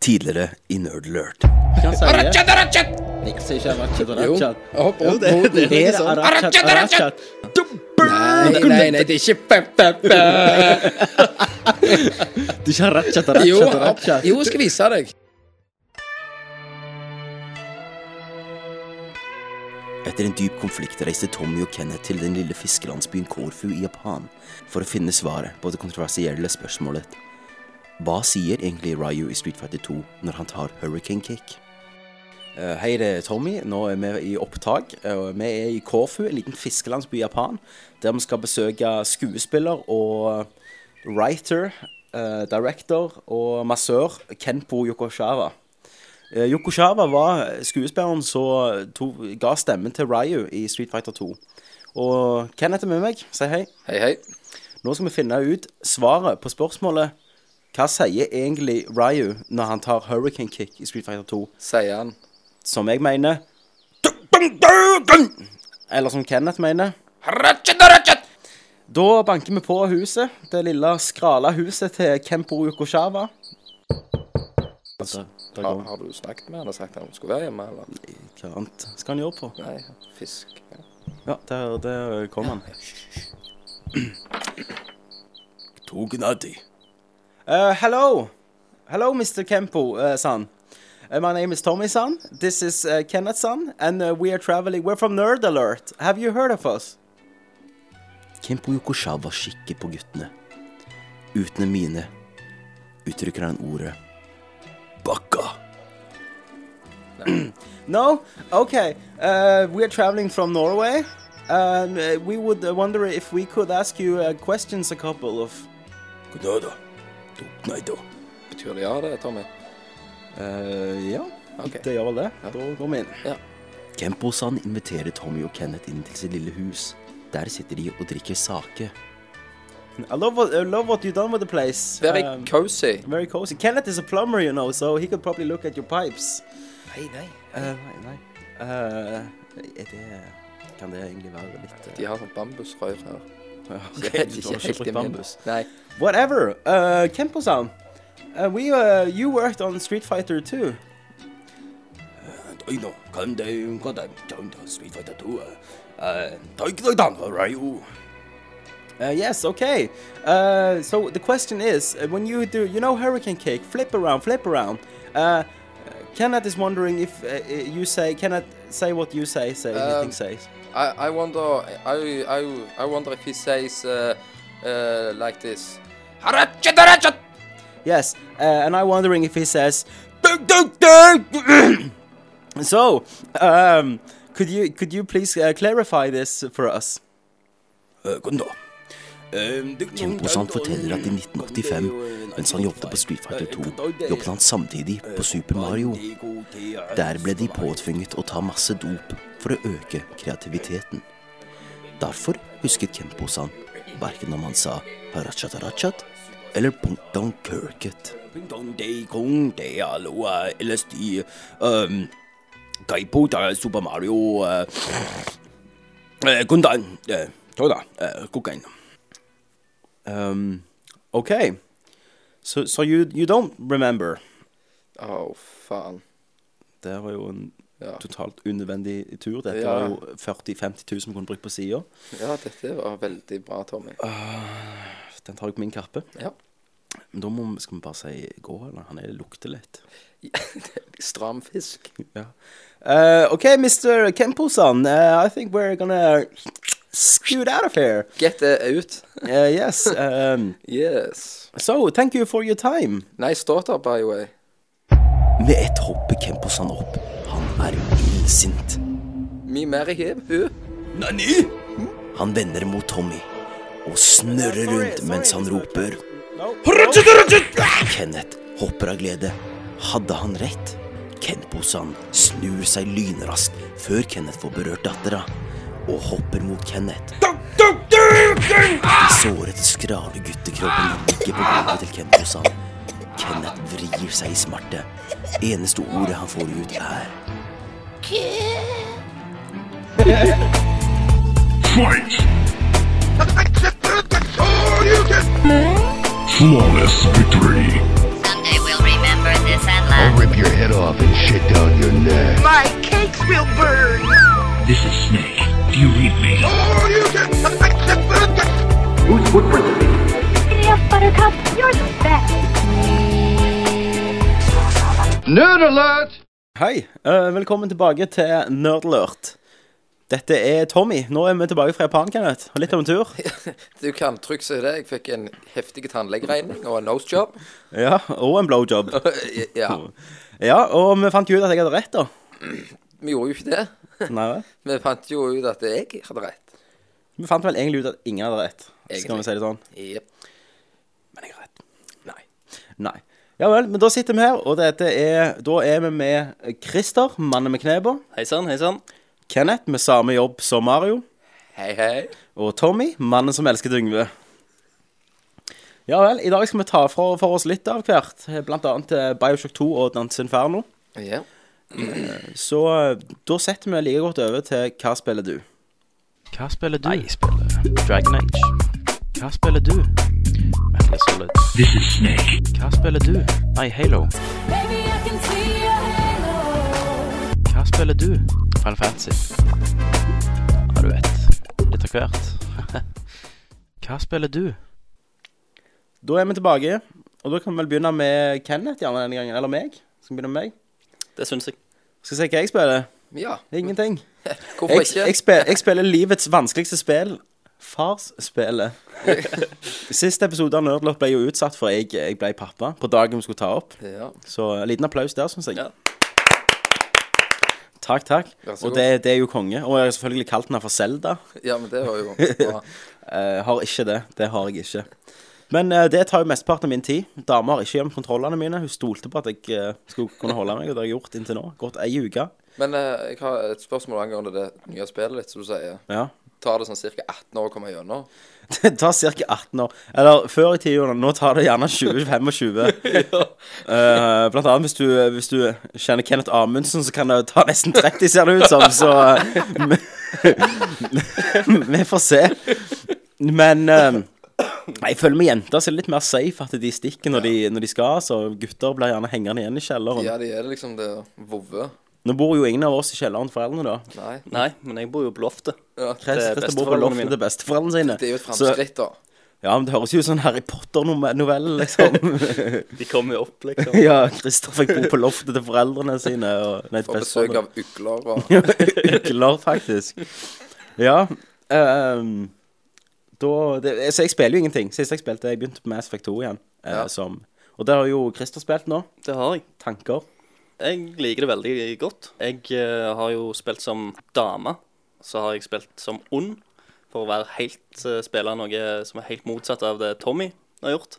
tidligere i Nerd Alert. Hva han sier Arachat, arachat! Nei, sier ikke Arachat Jo. Arachat. Hopp opp det- mot det- Er det. det Arachat Arachat, Arachat? Nei, nei, nei, det er ikke pa, pa, pa. Det er ikke Arachat Jo, Arachat hopp. Arachat. jo, jeg skal vise deg. Etter en dyp konflikt reiste Tommy og Kenneth til den lille fiskelandsbyen Korfu i Japan for å finne svaret på det kontroversielle spørsmålet Hva sier egentlig Ryu i Street Fighter 2 når han tar hurricane kick? Eh, Hei, det er Tommy. Nå er vi i opptak. Eh, og Vi er i Korfu, en liten fiskelandsby i Japan, der vi skal besøke skuespiller og writer, eh, director og massør Kenpo Yokoshawa. Eh, Yoko Shava var skuespilleren som to- ga stemmen til Ryu i Street Fighter 2. Og Kenneth er med meg. Si hei. Hei, hei. Nå skal vi finne ut svaret på spørsmålet Hva sier egentlig Ryu når han tar hurricane kick i Street Fighter 2? Sier han. Som jeg mener «Dun-dun-dun-dun!» Eller som Kenneth mener. Arachat, arachat. Da banker vi på huset. Det lille, skrala huset til Kempo Yokoshava. Altså, Har, har du snakket med han og sagt at han skulle være hjemme, eller? Hva annet skal han gjøre på? Nei, fisk. Ja. Ja, der, der kom han. Tognadi. Uh, hello. Hello, Mr. Kempo, uh, san. Uh, my name is Tommy san. This is uh, Kenneth san. And uh, we are traveling. We're from Nerd Alert. Have you heard of us? Kempo Yokoshawa kikker på guttene. Uten en mine uttrykker han ordet Bakka. No? Okay. Uh, we are traveling from Norway. And uh, we would uh, wonder if we could ask you uh, questions a couple of. Gnada. Dopnaido. Betyr det ja, det, Tommy? Uh, ja, Ok. det gjør vel det. Da går vi inn. Ja. Kempo-san inviterer Tommy og Kenneth inn til sitt lille hus. Der sitter de og drikker sake. I love what, I love what you've done with the place. Very Um, cozy. very cozy. Kenneth is a plumber, you know, so he could probably look at your pipes. Nei, nei. Eh, nei, nei. Eh, er det Kan det egentlig være litt eh, De har sånn bambusrør her. ja, ok, du Ikke ikke har ikke helt i brukt min. bambus. Nei. Whatever. Uh, Kempo-san, uh, we, uh, you worked on Street Fighter Uh, 2. Street Fighter 2. Uh, yes, okay. Uh, so the question is, uh, when you do, you know, Hurricane Kick, flip around, flip around. Uh, Uh, Kenneth is wondering if uh, uh, you say, Kenneth, say what you say, say Um, anything says. I, I wonder I, I, I wonder if he says uh, uh, like this. Arachat, arachat! Yes, uh, and I'm wondering if he says. "Dunk, dunk, dunk." so, um, could you could you please uh, clarify this for us? Kjemposan forteller at i 1985, mens han jobbet på Street Fighter Eh, 2, jobbet han samtidig på Super Mario. Der ble de påtvunget å ta masse dop for å øke kreativiteten. Derfor husket Kemposan verken om han sa harachat harachat eller punkton kirket. Super Mario Um, okay. So, so you, you don't remember. Å, faen. Det var jo en Ja. totalt unødvendig tur. Dette Ja. var jo 40 000-50 000 vi kunne brukt på sida. Ja, dette var veldig bra, Tommy. Ah. Den tar jeg på min kappe. Ja. Men da må, vi- skal vi bare si gå, eller? Han er, lukter litt. Stram fisk. Yeah. Uh, okay, Mr. Kemposan, uh, I think we're gonna scoot out of here. Get det ut. Uh, yes. Um, Yes. so, thank you for your time. Nice daughter, by the way. Med ett hopper Kemposan opp. Han er illsint. Me marry him, hun. Nani? Han vender mot Tommy og snurrer rundt mens han roper. Kenneth hopper av glede. Hadde han rett? Kenposan snur seg lynraskt før Kenneth får berørt dattera, og hopper mot Kenneth. De sårete, skrale guttekroppene ligger på gulvet til Kenposan. Kenneth vrir seg i smerte. Eneste ordet han får ut, er Someday we'll remember this and laugh. My cakes will burn. This is Snake. Do you read me? Oh, you can. Yes, Buttercup, you're the best. Hei, eh, velkommen tilbake til Nerdlurt. Dette er Tommy. Nå er vi tilbake fra Japan, Kenneth. Og litt av en tur. Du kan trygt si det. Jeg fikk en heftig tannlegeregning og en nosejob. Ja, Og en blowjob. ja. Ja, og vi fant jo ut at jeg hadde rett, da. Vi gjorde jo ikke det. Nei, vel? Vi fant jo ut at jeg hadde rett. vi fant vel egentlig ut at ingen hadde rett. Skal vi si det sånn. Jep. Men jeg har rett. Nei. Nei. Ja vel, men da sitter vi her, og dette er, da er vi med Christer, mannen med kneba. Hei sann, hei sann. Kenneth med samme jobb som Mario. Hei, hei. Og Tommy, mannen som elsket Yngve. Ja vel, i dag skal vi ta fra for oss litt av hvert. Blant annet eh, Bioshock 2 og Dance Inferno. Ja. Så eh, da setter vi like godt over til hva spiller du? Hva spiller du? Jeg spiller Dragon Age. Hva spiller du? Metal Solid. This is Snake. Hva spiller du? Nei, Halo. Hva spiller du? Final Fantasy. Ja, du vet. Litt av hvert. Hva spiller du? Da er vi tilbake, og da kan vi vel begynne med Kenneth gjerne denne gangen. Eller meg. Skal vi begynne med meg? Det syns jeg. Skal vi se hva jeg spiller? ja. Ingenting. Hvorfor Jeg, ikke? jeg, spiller, jeg spiller livets vanskeligste spill. Farsspillet. Siste episode av Nerdlot ble jo utsatt, for jeg, jeg ble pappa på dagen vi skulle ta opp. Ja. Så en liten applaus der, syns jeg. Ja. Takk, takk. Vær så Og god. det, det er jo konge. Og jeg har selvfølgelig kalt den her for Selda. ja, men det var jo bra. Eh, har ikke det. Det har jeg ikke. Men eh, det tar jo mesteparten av min tid. Dama har ikke gjemt kontrollene mine. Hun stolte på at jeg eh, skulle kunne holde meg, og det har jeg gjort inntil nå. Gått ei uke. Men eh, jeg har et spørsmål angående det nye spillet ditt, som du sier. Ja. Tar det sånn ca. 18 år å komme gjennom? Det tar ca. 18 år. Eller før i tida. Nå tar det gjerne 20-25. Eh, blant annet hvis du, hvis du kjenner Kenneth Amundsen, så kan det ta nesten 30, ser det ut som. Så eh, vi- Vi får se. Men eh, nei, jeg føler med jenter så er det litt mer safe at de stikker når, de, når de skal. Så gutter blir gjerne hengende igjen i kjelleren. Ja, det er liksom det vovve. Nå bor jo ingen av oss i kjelleren, foreldrene, da. Nei. Nei, men jeg bor jo på loftet. Ja. Christ- Christer bor på besteforeldrene loftet mine. til besteforeldrene sine. Det er jo et Så- framskritt, da. Ja, men det høres jo ut som en Harry Potter-novelle, liksom. De kommer jo opp, liksom. Ja, Christer fikk bo på loftet til foreldrene sine. Og, nei, Få besøk av ugler og ugler, faktisk. Ja. ehm, da, det, så jeg spiller jo ingenting. Sist jeg spilte, jeg begynte på Mass Effect 2 igjen. eh, Ja. som, og der har jo Christer spilt nå. Det har jeg. Tanker. Jeg liker det veldig godt. Jeg eh, har jo spilt som dame. Så har jeg spilt som ond, for å være helt eh, spille noe som er helt motsatt av det Tommy har gjort.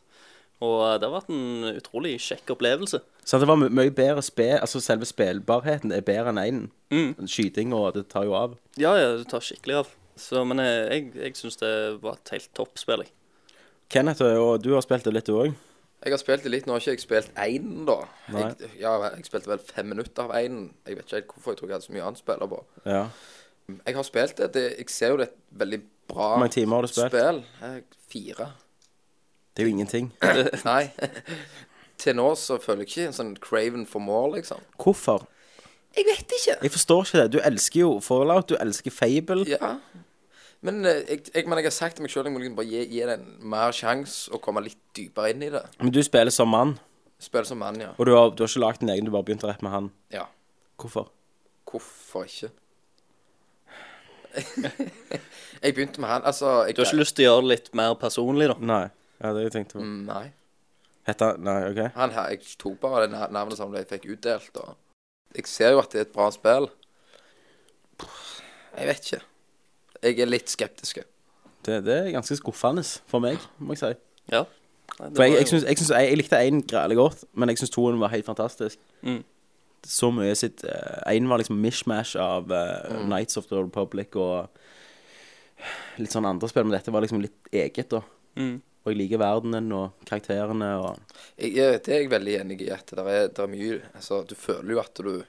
Og eh, det har vært en utrolig kjekk opplevelse. Så det var my mye bedre spill Altså selve spillbarheten er bedre enn einen. Mm. Skyting og det tar jo av. Ja, ja, du tar skikkelig av. Så, men eh, jeg, jeg syns det var et helt topp spill, jeg. Kenneth, eh, og du har spilt det litt, du òg. Jeg har spilt det litt, nå har ikke jeg spilt én, da. Nei. Jeg, ja, jeg spilte vel fem minutter av én. Jeg vet ikke helt hvorfor jeg tror jeg hadde så mye annet å spille på. Ja. Jeg har spilt det. det jeg ser jo det er et veldig bra Hvor mange timer har du spilt? spill. Jeg, fire. Det er jo ingenting. Nei. Til nå så føler jeg ikke en sånn craven for more, liksom. Hvorfor? Jeg vet ikke. Jeg forstår ikke det. Du elsker jo Fallout, du elsker Fable. Ja. Men eh, jeg, jeg, men jeg har sagt til meg sjøl jeg må liksom bare gi, gi det en mer sjanse og komme litt dypere inn i det. Men du spiller som mann, Spille som mann, ja. og du har, du har ikke lagd din egen, du bare begynte rett med han. ja. Hvorfor? Hvorfor ikke? jeg begynte med han Altså jeg, Du har ikke lyst til å gjøre det litt mer personlig, da? Nei. Ja, det er det jeg tenkte på. Mm, Nei. Hette han Nei, OK. Han her, Jeg tok bare det na- navnet som jeg fikk utdelt. Og jeg ser jo at det er et bra spill. Jeg vet ikke. Jeg er litt skeptisk. Det, det er ganske skuffende for meg, må jeg si. Ja. Nei, det For jeg, var jeg, jo- syns- jeg, syns- jeg, jeg likte én greit godt, men jeg syns toen var helt fantastisk. Mm. Så mye sitt Én var liksom mishmash av eh, Knights of the Republic og litt sånn andre spill, men dette var liksom litt eget, da. Mm. Og jeg liker verdenen og karakterene og Jeg, er- det er jeg veldig enig i. at det er, det er mye, altså Du føler jo at du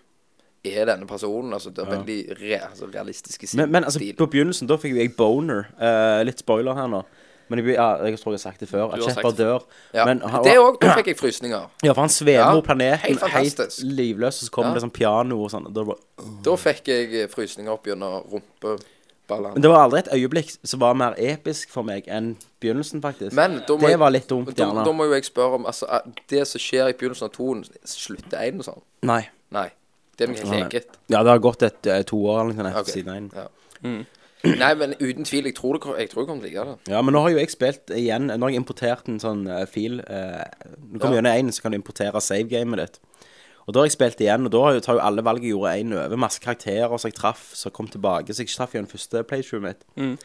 er denne personen. altså Det er veldig re, altså, realistiske Men, men altså, på begynnelsen, da fikk jo jeg boner. Eh, litt spoiler her nå. Men jeg, blir- ja, jeg tror jeg har sagt det før, at Du har sagt Shepard det dør. Ja. Men han- det òg, da fikk jeg frysninger. Ja, for han svever Ja, over planeten helt helt, fantastisk. livløs, og så kommer Ja. det sånn piano og sånn. og da bare- Da fikk jeg eh, frysninger opp gjennom rumpeballene. Men det var aldri et øyeblikk som var mer episk for meg enn begynnelsen, faktisk. Men da må det jeg- var litt dumt, da, gjerne. da må jo jeg spørre om altså, er Det som skjer i begynnelsen av toen, slutter én og sånn? Nei. Nei. Det er mitt Nei. eget. Ja, det har gått et eh, to år eller noe sånt Ok. siden en. Ja. Nei, men uten tvil. Jeg tror, det, kom- jeg tror jeg kommer til å like det. Ja, men nå har jo jeg spilt igjen Nå har jeg importert en sånn eh, fil eh, Nå kommer Ja. gjennom én, så kan du importere savegamet ditt. Og da har jeg spilt igjen, og da har jo- tar jo alle valg jeg gjorde, én over. Masse karakterer som jeg traff, som kom tilbake. Så jeg ikke traff gjennom første playthroughen mitt.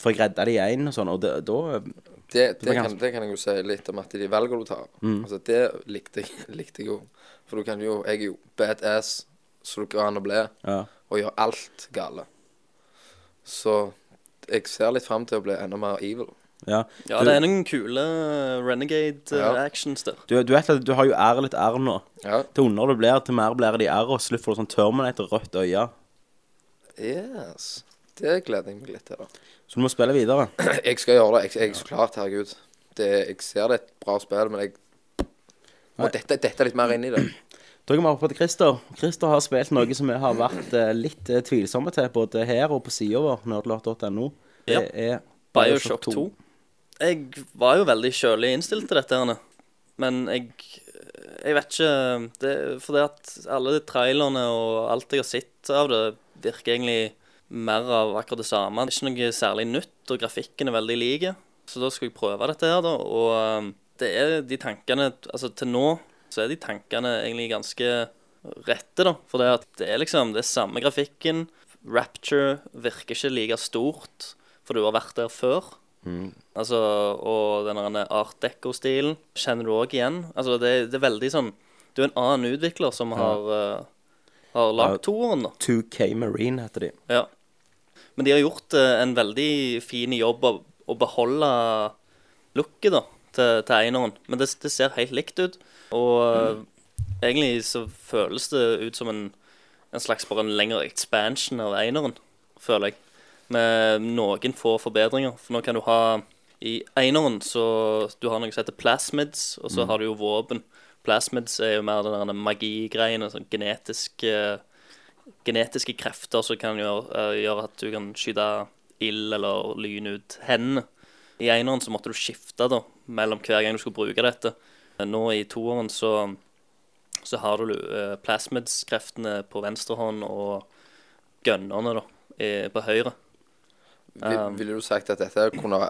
For jeg redda de én og sånn, og det, da Det, det, Det kan- Mm. kan, det kan jeg jo si litt om at de valgene du tar. Altså, det likte jeg, likte jeg jo. For du kan jo Jeg er jo badass, så du går an å bli, Ja. og gjør alt gale. Så jeg ser litt fram til å bli enda mer evil. Ja, Ja, du, det er noen kule eh, Ja. renegade-actions der. du, du vet at du har jo R litt R nå. Ja. Til under du blir, til mer blir det i R, og til slutt får du sånn Terminator rødt øye. Yes. Det gleder jeg meg litt til, da. Så du må spille videre. Jeg skal gjøre det. Jeg, jeg er så klart, herregud. Det, jeg ser det er et bra spill, men jeg må dette, dette litt mer inn i det. Da kan vi hoppe til Christer. Christer har spilt noe som vi har vært eh, litt eh, tvilsomme til, både her og på sida vår, nerdlot.no. Det Ja. er Bioshock 2. Jeg var jo veldig kjølig innstilt til dette, herne. men jeg Jeg vet ikke det, For det at alle de trailerne og alt jeg har sett av det, virker egentlig mer av akkurat det samme. Det er ikke noe særlig nytt, og grafikken er veldig lik. Så da skal jeg prøve dette her, da. Og um, det er de tankene Altså, til nå så er de tankene egentlig ganske rette, da. For det at det er liksom det er samme grafikken. Rapture virker ikke like stort, for du har vært der før. Altså, og den der art deco-stilen kjenner du òg igjen. Altså, det, det er veldig sånn Du er en annen utvikler som har, eh, har Ja. lagd toeren, da. 2K Marine heter de. Ja. Men de har gjort eh, en veldig fin jobb av å beholde looket da, til, til eneren. Men det, det ser helt likt ut. Og eh, egentlig så føles det ut som en, en slags bare en lengre expansion av eneren, føler jeg. Med noen få forbedringer. For nå kan du ha I eneren så du har noe som heter plasmids, og så har du jo våpen. Plasmids er jo mer den der magigreiene, sånn genetisk eh, genetiske krefter som kan gjøre, eh, gjøre at du kan skyte ild eller lyn ut hendene. I eneren så måtte du skifte da, mellom hver gang du skulle bruke dette. Men Nå i toeren så, så har du eh, plasmids-kreftene på venstre hånd og gønnerne da, i- på høyre. Vi- Um. Ville du sagt at dette kunne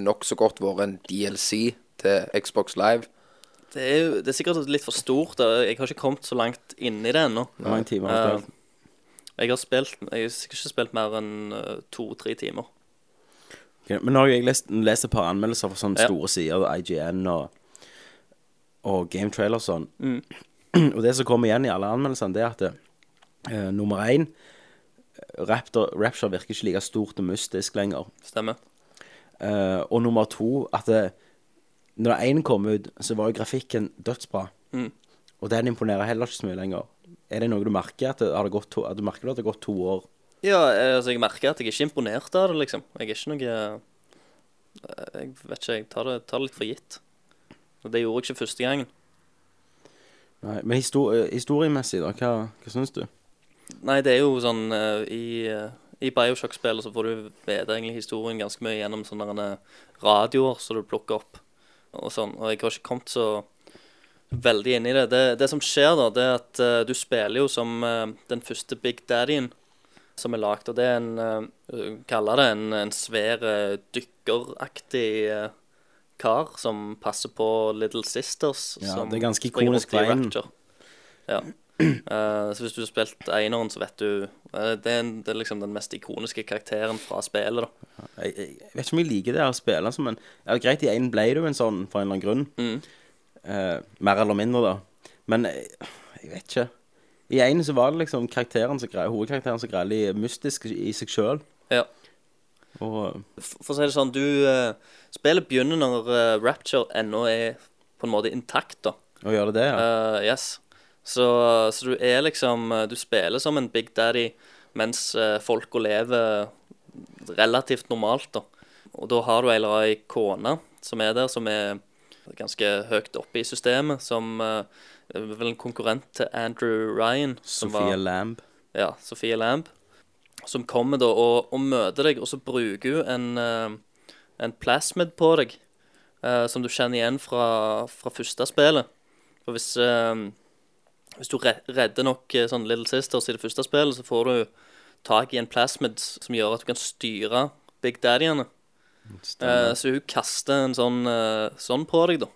nokså godt vært en DLC til Xbox Live? Det er, jo, det er sikkert litt for stort. da. Jeg har ikke kommet så langt inn i det ennå. Det var en time han Eh, spilte. jeg har spilt, jeg har sikkert ikke spilt mer enn eh, to-tre timer. Ok, Men nå har jo jeg lest, lest et par anmeldelser fra sånne Ja. store sider, IGN og, og Game Trailer og sånn. Mm. Og det som kommer igjen i alle anmeldelsene, det er at eh, nummer én Raptor, Rapture virker ikke like stort og mystisk lenger. Stemmer? Eh, og nummer to, at det, når én kom ut, så var jo grafikken dødsbra. Mm. Og den imponerer heller ikke så mye lenger. Er det noe du merker? At det, har det gått to, at du merker du at det har gått to år? Ja, eh, altså jeg merker at jeg er ikke imponert av det, liksom. Jeg er ikke noe eh, Jeg vet ikke, jeg tar det, tar det litt for gitt. Og det gjorde jeg ikke første gangen. Nei, men histor eh, historiemessig, da? Hva, hva syns du? Nei, det er jo sånn eh, i, eh, i Bioshock-spillet så får du vite egentlig historien ganske mye gjennom sånn eh, sånne derne radioer som du plukker opp. Og sånn, og jeg har ikke kommet så veldig inn i det. Det, det som skjer, da, det er at eh, du spiller jo som eh, den første Big Daddyen som er lagd. Og det er en eh, Kaller det en, en svær eh, dykkeraktig eh, kar som passer på Little Sisters. Ja, som det er ganske springer ikonisk rundt i veien. Rapture. Ja. Eh, så hvis du har spilt eneren, så vet du eh, det, er en, det er liksom den mest ikoniske karakteren fra spillet, da. Jeg, jeg, jeg vet ikke om jeg liker det her å spille, altså, men ja, greit, i én ble det jo en sånn for en eller annen grunn. Mm. Eh, mer eller mindre, da. Men eh, jeg vet ikke. I én så var det liksom karakteren som gre- hovedkarakteren som greide litt mystisk i seg sjøl. Ja. Og For for å si det sånn, du eh, Spillet begynner når eh, Rapture ennå er på en måte intakt, da. å gjøre det, ja. Eh, yes. Så, så du er liksom eh, Du spiller som en eh, Big Daddy mens uh, folka lever relativt normalt, da. Og da har du ei eller ei kone som er der, som er ganske høyt oppe i systemet, som eh, er vel en konkurrent til Andrew Ryan. Som Sophia Lamb. ja, Sofie Lamb, som kommer da og, og møter deg, og så bruker hun en, eh, en plasmid på deg, eh, som du kjenner igjen fra, fra første spillet. For hvis, eh, hvis du re- redder nok eh, sånn Little Sisters i det første spillet, så får du tak i en plasmid s- som gjør at du kan styre Big Daddy-ene. Eh, så hun kaster en sånn, eh, sånn på deg, da.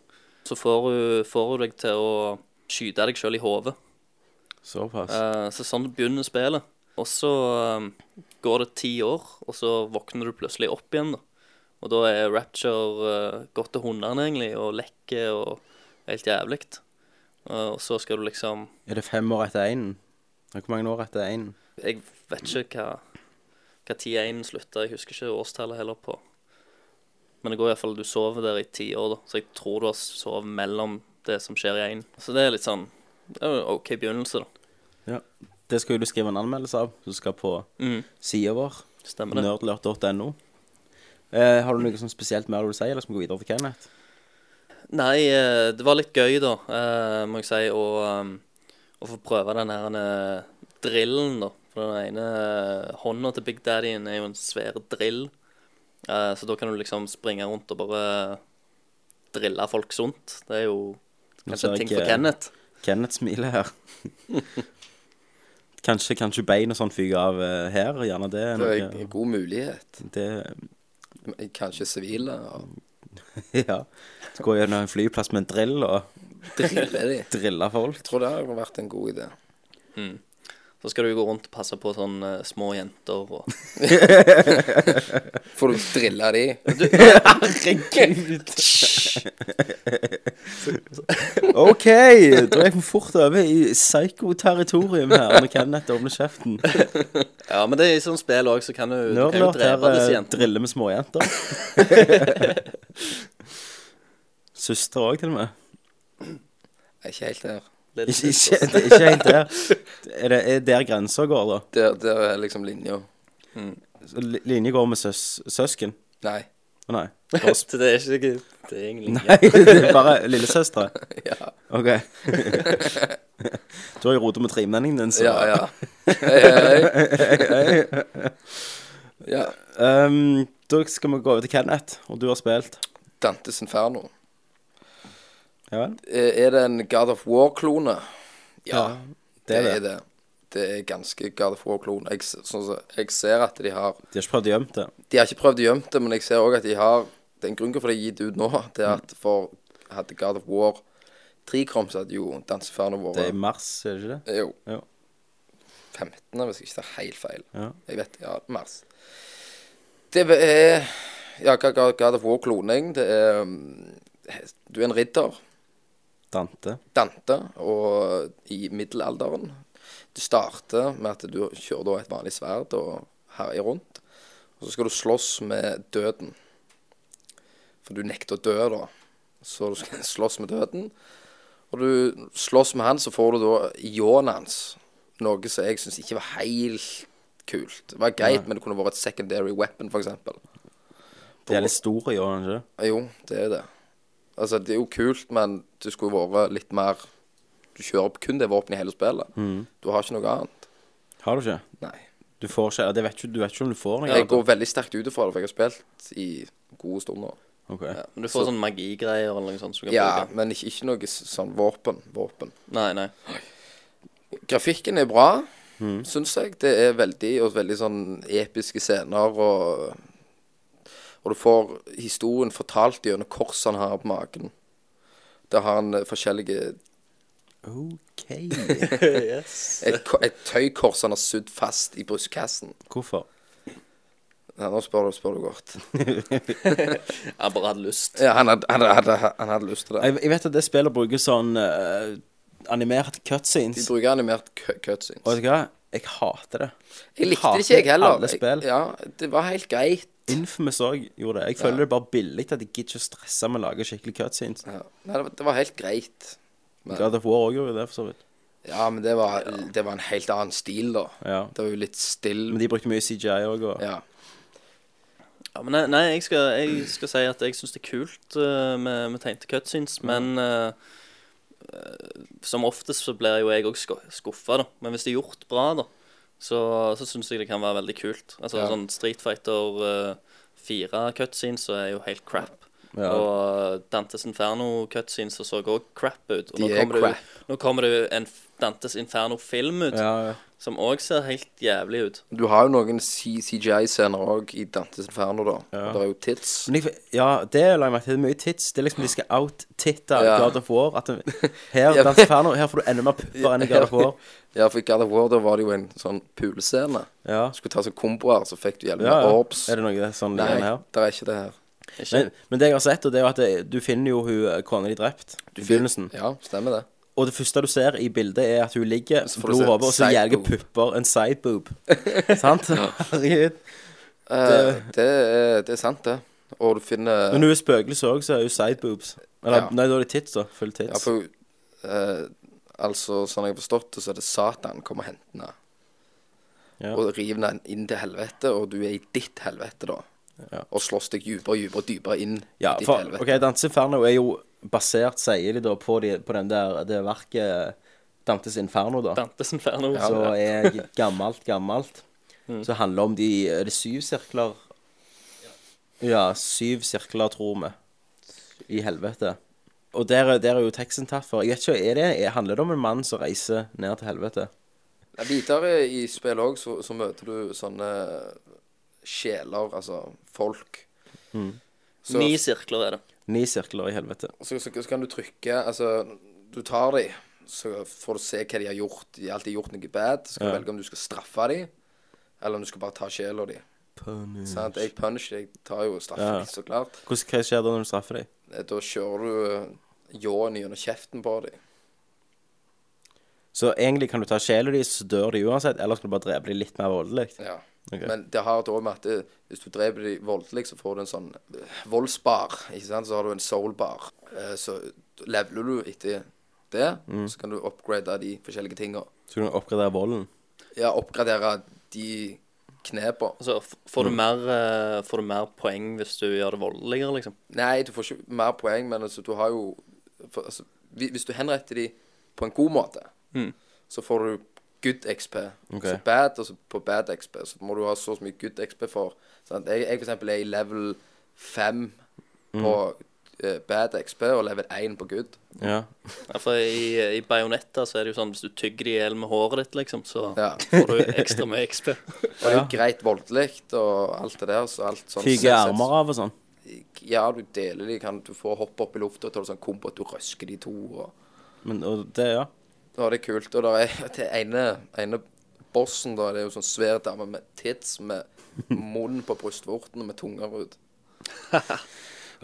Så får hun, får hun deg til å skyte deg sjøl i hodet. Såpass. Eh, Så sånn begynner spillet. Og så eh, går det ti år, og så våkner du plutselig opp igjen. da. Og da er Rapture eh, gått til hundene, egentlig, og lekker og helt jævlig. Eh, og så skal du liksom Er det fem år etter én? Hvor mange år etter én? Jeg vet ikke hva, hva tid 1 slutta, jeg husker ikke årstallet heller på. Men det går iallfall du sover der i ti år, da, så jeg tror du har sovet mellom det som skjer i 1. Så det er litt sånn det er jo en OK begynnelse, da. Ja. Det skal jo du skrive en anmeldelse av, som skal på sida vår. Mm, Stemmer det. Nerdlert.no. Eh, har du noe sånn spesielt mer du vil si, eller skal vi gå videre til Kenneth? Nei, eh, det var litt gøy, da, eh, må jeg si, å, um, å få prøve den her eh, drillen, da. For den ene eh, hånda til Big Daddy-en er jo en svær drill. Eh, Så da kan du liksom springe rundt og bare drille folk sunt. Det er jo ser kanskje jeg en ting for ikke- Kenneth. Kenneth smiler her. kanskje, kanskje bein og sånn fyker av eh, her, og gjerne det. er Det er noe- en god mulighet. det Kanskje sivile. og Ja. Så Gå gjennom en flyplass med en drill og Driller de. Jeg drille folk. tror det hadde vært en god idé. Så skal du jo gå rundt og passe på sånne eh, små jenter og Får du drilla de? OK, da er vi fort over i psykoterritorium her når Kenneth åpner kjeften. Ja, men det er i sånne spill òg, så kan du, du kan jo Nerdlert her drepe disse eh, jentene. driller med småjenter. Søster òg, til og med. Jeg er ikke helt der. Ikke, ikke, det er ikke helt der. Er det er der grensa går, da? Der, der er liksom linja. Så li- Linje går med søs, søsken? Nei. Å, Nei. Så det er ikke Det er egentlig Nei, det er bare lillesøstre? Ja, OK. Du har jo rota med tremenningen din, så ja. ja. Hei, hei, hei. Ja. Ehm, Da skal vi gå over til Kenneth, og du har spilt. Dantes Inferno. Ja vel? Eh, Er det en God of War-klone? Ja, det det er er det. det. er ganske God of War-klone. Jeg, s- sånn som- jeg ser at de har De har ikke prøvd å gjemme det. De har ikke prøvd å gjemme det, men jeg ser òg at de har Det er en grunn til at det er gitt ut nå. Det er at for hadde God of War 3 kommet, så hadde jo danseferdene Det er i våre mars, er det ikke det? Jo. Ja. 15., hvis jeg ikke tar helt feil. Ja. Jeg vet Ja, mars. Det er Ja, hva hva- God of War-kloning? Det er um, Du er en ridder. Dante. Dante, og i middelalderen. Du starter med at du kjører da et vanlig sverd og herjer rundt. Og så skal du slåss med døden. For du nekter å dø, da. Så du skal slåss med døden. Og du slåss med han, så får du da ljåen hans. Noe som jeg syns ikke var helt kult. Det var greit, men det kunne vært et secondary weapon, f.eks. Det er litt stor i år, ikke Ja, Jo, det er det. Altså, det er jo kult, men det skulle vært litt mer Du kjører opp kun det våpenet i hele spillet. Du har ikke noe annet. Har du ikke? Nei. Du får ikke det vet ikke, Du vet ikke om du får noe? Jeg går veldig sterkt ut ifra det, for jeg har spilt i gode stunder. Ok. Men du får sånn magigreier eller noe sånt som du kan Ja, bruke. men ikke, ikke noe s- sånn våpen. Våpen. Nei, nei. Grafikken er bra, syns jeg. Det er veldig og veldig sånn episke scener. Og, og du får historien fortalt gjennom korsene her på magen. Der har han eh, forskjellige OK. Et, ko- et tøykors han har sydd fast i brystkassen. Hvorfor? Ja, nå spør du, spør du godt. Jeg bare hadde lyst. Ja, han, hadde, han, hadde, han hadde lyst til det. Jeg, jeg vet at det spillet bruker sånn eh, animert De cutscenes. bruker animert cu- Og vet cutscenes. du hva? Jeg hater det. Jeg likte det hater ikke, jeg heller. alle spill. Jeg, ja, Det var helt greit. Infamous òg gjorde det. Jeg føler det er bare billig at jeg gidder ikke å stresse med å lage skikkelig cutscenes. Ja. Nei, det var, det var helt greit. God of War òg gjorde det, for så vidt. Ja, men det var, det var en helt annen stil, da. Ja. Det var jo litt still. Men de brukte mye CGI òg, og Ja. Ja, men nei, nei, jeg, skal, jeg skal si at jeg syns det er kult eh, med, med tegnte cutscenes, men eh, eh, som oftest så blir jo jeg òg skuffa, da. Men hvis det er gjort bra, da, så, så syns jeg det kan være veldig kult. Altså Ja. sånn Street Fighter uh, 4 cutscenes så er jo helt crap. Ja. Og Dantes Inferno cutscenes så så òg crap ut. Og De nå er kommer, det, crap. jo- nå kommer det jo en f- Dantes Inferno-film ut, Ja, ja. som òg ser helt jævlig ut. Du har jo noen C- CGI-scener òg i Dantes Inferno, da. Det er jo tits. Men jeg, ja, det la jeg merke til. Det er mye tits. Det er liksom De skal out-titte Ja. God of War. At det, her, Ja. Dance Inferno, her får du enda mer pupper enn i God of War. Ja, for i God of War da var det jo en sånn pulescene. Ja. Skulle ta sånn komboer, så fikk du hjelp med Ja, ja. orbs. Er det noe sånn Nei, lignende her? det er ikke det her. Men, men det jeg har sett, og det er jo at det, du finner jo hun eh, kona de drept i begynnelsen. Ja, stemmer det. Og det første du ser i bildet, er at hun ligger, får du blod se over, og så side jager boob. pupper en sideboob. Sant? Herregud. Eh, det, er, det er sant, det. Og du finner Men hun er spøkelse òg, så er hun sideboobs. Eller Ja. nei, da er det tits, da. Full ja, tits. for, eh, Altså, sånn jeg har forstått det, så er det Satan kommer og henter henne. Ja. Og river henne inn til helvete, og du er i ditt helvete, da. Ja. Og slåss deg dypere og dypere og dypere inn Ja, i ditt for helvete. OK, Dantes Inferno er jo basert, sier de da, på, de, på den der, det verket Dantes Inferno, da. Dantes Inferno. Så er g- gammelt, gammelt. Så handler om de Er det syv sirkler? Ja, syv sirkler, tror vi. I helvete. Og der, er- der er jo teksten tatt for. Jeg vet ikke, er det, er, Handler det om en mann som reiser ned til helvete? Ja, Videre i spillet òg så, så møter du sånne eh, sjeler, altså folk. Så, Ni sirkler er det. Ni sirkler i helvete. så, så, så kan du trykke Altså, du tar de, så får du se hva de har gjort. De har alltid gjort noe bad. Så kan du velge om du skal straffe de, eller om du skal bare ta sjela di. Sant? Jeg punisher, jeg tar jo straffen, Mm. Ja. så klart. Hvordan, hva skjer da når du straffer dem? Eh, Da kjører du eh, ljåen gjennom kjeften på dem. Så egentlig kan du ta sjela deres, så dør de uansett, eller skal du bare drepe dem litt mer voldelig? Ja. Ok. Men det har da med at det, hvis du dreper de voldelig, så får du en sånn eh, voldsbar. Ikke sant? Så har du en soulbar. Eh, Så leveler du etter det, Mm. så kan du oppgradere de forskjellige tinga. Så kan du oppgradere volden. Ja, oppgradere de knepa. Altså, f- får, du mer, eh, får du mer poeng hvis du gjør det voldeligere, liksom? Nei, du får ikke mer poeng, men altså, du har jo for, altså, hvi- Hvis du henretter de på en god måte, så får du good XP. Så bad, og så på bad XP. Så må du ha så og så mye good XP for sant? Jeg, jeg for eksempel er i level 5 på eh, bad XP og level 1 på good. Ja. Ja, for i, i Bayonetta så er det jo sånn hvis du tygger det i hjel med håret ditt, liksom, så Ja. får du ekstra mye XP. Og det er jo greit voldelig og alt det der. Så alt sånn Fyker armer av og sånn. Ja, du deler de, kan du få hoppe opp i lufta og ta sånn kombo at du røsker de to. og Men og det, ja. Ja, det er kult. Og der er det ene, ene bossen, da, det er jo sånn svær dame med tits med munn på brystvorten og med tunger ut.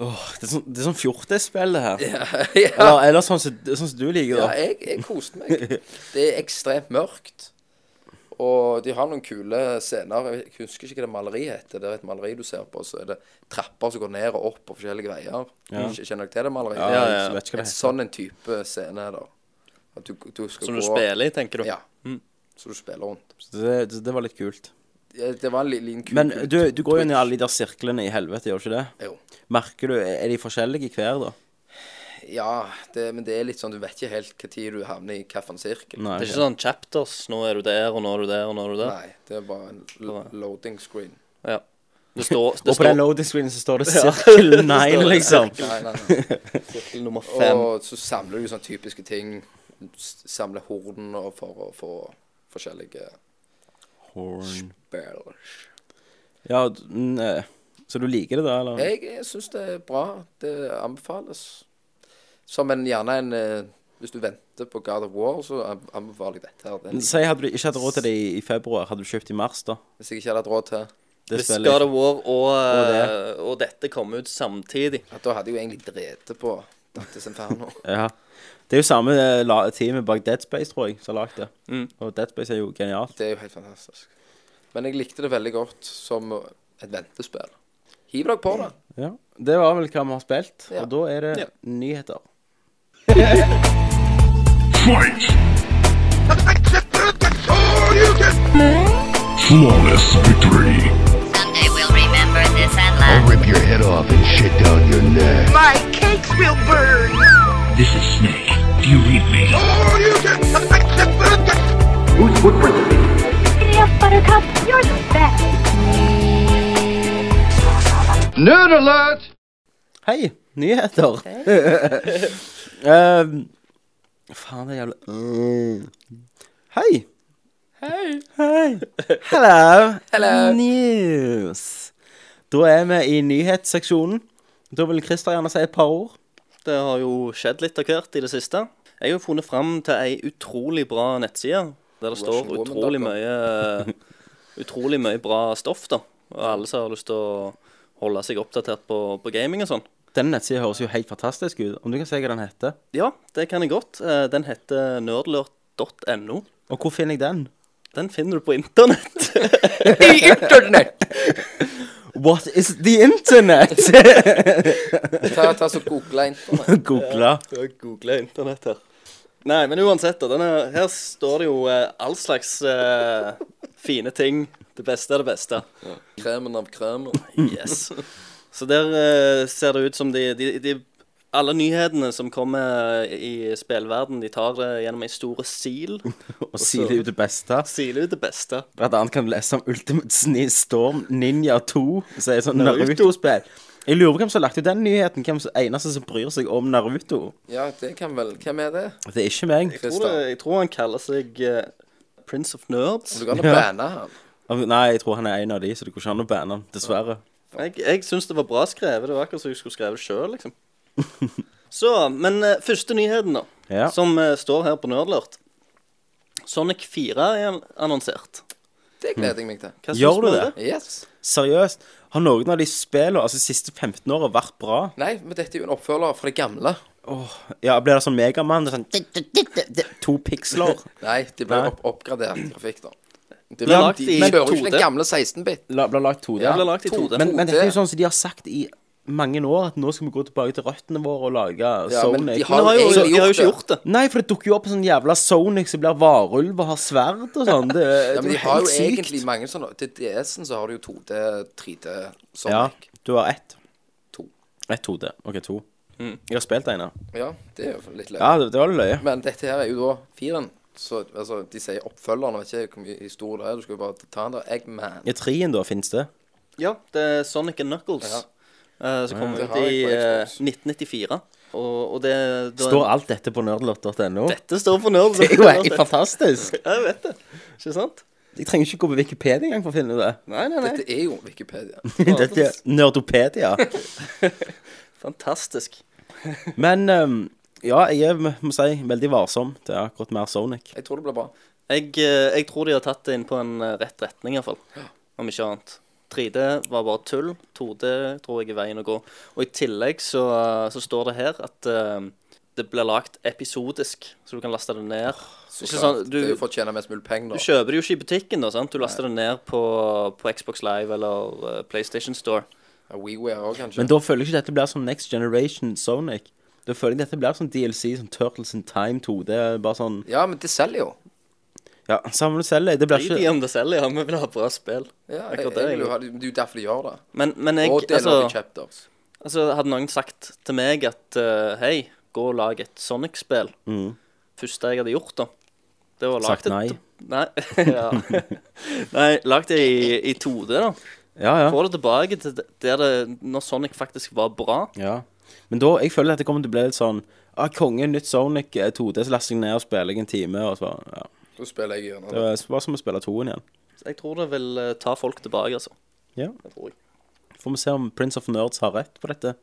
Åh, det er sånn, det er sånn fjortisspill, det her. ja, Eller, eller sånn som sånn som du liker, ja, da. jeg, jeg koste meg. Det er ekstremt mørkt. Og de har noen kule scener. Jeg vet- jeg husker ikke hva det maleriet heter. Det er et maleri du ser på, så er det trapper som går ned og opp på forskjellige veier. Kj- Kjenner dere til det maleriet? Ja, ja, jeg vet ikke hva det En sånn en type scene er det. At du, du skal Som gå du spiller i, tenker du. Ja. Mm. Så du spiller rundt. Så det, det- det var litt kult. Ja, Det var en li- liten kul Men kul du, du går jo inn i twitch. alle de der sirklene i helvete, gjør du ikke det? Jo. Merker du, Er de forskjellige hver, da? Ja, det, men det er litt sånn, du vet ikke helt hva tid du havner i kaffen sirkel. Nei. Det er ikke sånn chapters. Nå er du der, og nå er du der, og nå er du der. Nei, det er bare en lo- loading screen. Ja. Det står, Og det på den står loading screenen så står det sirkel 9, liksom. Nei, nei, nei. sirkel nummer fem. Og så samler du sånne typiske ting. S- Samler horden og for å få forskjellige Horn. bells. Ja, d- nei. så du liker det, da? eller? Jeg, jeg syns det er bra. Det anbefales. Som en gjerne en eh, Hvis du venter på God of War, så an- anbefaler jeg dette her. Den, Si hadde du ikke hatt råd til det i- i februar, hadde du kjøpt i mars, da? hvis jeg ikke hadde hatt råd til Det Hvis spillet. God of War og, eh, Og og dette kommer ut samtidig at Da hadde jeg jo egentlig drept på Dantes Inferno. Ja. Det er jo samme eh, la- teamet bak Dead Space, tror jeg, som har lagd det. Mm. Og Dead Space er jo genialt. Det er jo helt fantastisk. Men jeg likte det veldig godt som et ventespill. Hiv dere på det. Ja. Det var vel hva vi har spilt, Ja. og da er det nyheter. Fight! Oh, you can Flawless victory! Someday we'll remember this and laugh. and shit down your neck. My cakes will burn. This is Snake. Do you read me? Oh, you can Giddy up, Buttercup, you're the best. Nerd alert! Hei, nyheter! um, faen, det er jævla Mm. Hei! Hei. Hello. News. Da er vi i nyhetsseksjonen. Da vil Christer gjerne si et par ord. Det har jo skjedd litt av hvert i det siste. Jeg har jo funnet fram til ei utrolig bra nettside, der det står Russianwoman.com. utrolig mye eh, Utrolig mye bra stoff, da. Og alle som har lyst til å holde seg oppdatert på, på gaming og sånn. Den nettsida høres jo helt fantastisk ut. Om du kan si hva den heter? Ja, det kan jeg godt. Eh, Den heter nerdlurt.no. Og hvor finner jeg den? Den finner du på internett. I internett! What is the internet? Ta, ta så Google internett. Google. Jeg googler internett her. Nei, men uansett, da. Denne, her står det jo eh, all slags eh, fine ting. Det beste er det beste. Kremen av kremen. Yes. Så der eh, ser det ut som de, de, de Alle nyhetene som kommer eh, i spillverden, de tar det gjennom ei store sil. Og si det jo det beste. Siler ut det beste. Blant annet kan du lese om Ultimate Sni- Storm Ninja 2, som er et sånt Naruto-spill. Jeg lurer på hvem som har lagt ut den nyheten. Hvem som eneste som bryr seg om Naruto. Ja, det kan vel Hvem er det? Det er ikke meg. Jeg tror, det, jeg tror han kaller seg eh, Prince of Nerds. Du kan jo banne han. Av- Nei, jeg tror han er en av de, så det går ikke an å banne han, dessverre. Jeg, jeg syns det var bra skrevet. Det var akkurat som jeg skulle skrevet det sjøl, liksom. Så, men eh, første nyheten, da, Ja. som eh, står her på Nerdlurt. Sonic 4 er an- annonsert. Det gleder jeg meg til. Hva Gjør syns vi du om det? Yes. Seriøst, har noen av de spillene altså de siste 15 åra vært bra? Nei, men dette er jo en oppfølger fra det gamle. Ja, Blir det sånn Megamann? Sånn, to piksler? Nei, de ble Nei. opp oppgradert grafikk, da. De, Ble lagt de, i kjører jo ikke 2D. den gamle 16-bit. La- Blir lagt 2D? Det ble lagt i 2D. Men, men 2D. dette er jo sånn som de har sagt i mange år, at nå skal vi gå tilbake til røttene våre og lage Ja, men Sonic. de Men de har jo, egentlig de har gjort jo ikke det. gjort det. Nei, for det dukker jo opp en sånn jævla Sonic som blir varulv og har sverd og sånn. Det, Ja, men det de er har helt jo sykt. egentlig mange sånne Til DS-en så har du jo 2D, 3D, Ja, Sonic. du har ett. To. Ett hode. OK, to. Jeg har spilt en, ja. Ja. det er jo litt løye. Mm. Ja, det, det var litt løye. Men dette her er jo da firen. Så altså, de sier oppfølgeren, jeg vet ikke hvor mye stor det er. Du skal jo bare ta den der. Eggman. I trien, da, fins det? Ja, det er Sonic and Knuckles. Ja. eh, som kom Det ut har i jeg på eh, Xbox. 1994. Og, og det, det Står alt dette på nerdlot.no? Dette står på Nerds. Det er jo helt fantastisk. Jeg vet det. Ikke sant? Jeg trenger ikke gå på Wikipedia engang for å finne det. Nei, nei, nei. Dette er jo Wikipedia. Dette er nerdopedia. Fantastisk. Men ehm, ja, jeg er, må si, veldig varsom til akkurat mer Sonic. Jeg tror det blir bra. Jeg, eh, jeg tror de har tatt det inn på en eh, rett retning, iallfall. Om ikke annet. 3D var bare tull. 2D tror jeg er veien å gå. Og i tillegg så, eh, så står det her at eh, det blir lagt episodisk, så du kan laste det ned. ikke sant? det er Du, jo for å tjene mest mulig penger, du da. kjøper det jo ikke i butikken, da, sant? Du laster det ned på, på Xbox Live eller eh, PlayStation Store. Ja, WeWare òg, kanskje. Men da føler jeg ikke dette blir sånn Next Generation Sonic. Da føler jeg dette blir sånn DLC, sånn Turtles in Time 2. Det er bare sånn Ja, men det selger jo. Ja, samme om du selger. Det blir Drit i ikke om det selger, ja. Vi vil ha bra spill. Ja, jeg, Akkurat jeg, det, vil jo egentlig. ha- det er jo derfor de gjør det. Men, men jeg Og deler altså- av chapters. Altså, hadde noen sagt til meg at eh, hei, gå og lag et Sonic-spill Mm. Første jeg hadde gjort, da. Det var lagt Sagt nei. Et, nei, ja. nei, lagt det i, i 2D, da. Ja, ja. Få det tilbake til der det Når Sonic faktisk var bra. ja. Men da, jeg føler at det kommer til å bli litt sånn ah, Konge, nytt Sonic eh, 2D, så laster jeg ned og spiller jeg en time. Og så, ja. Da spiller jeg gjennom Det det. var- var som å spille toen igjen. Så jeg tror det vil eh, ta folk tilbake, altså. Ja. Det tror jeg. Får vi se om Prince of Nerds har rett på dette.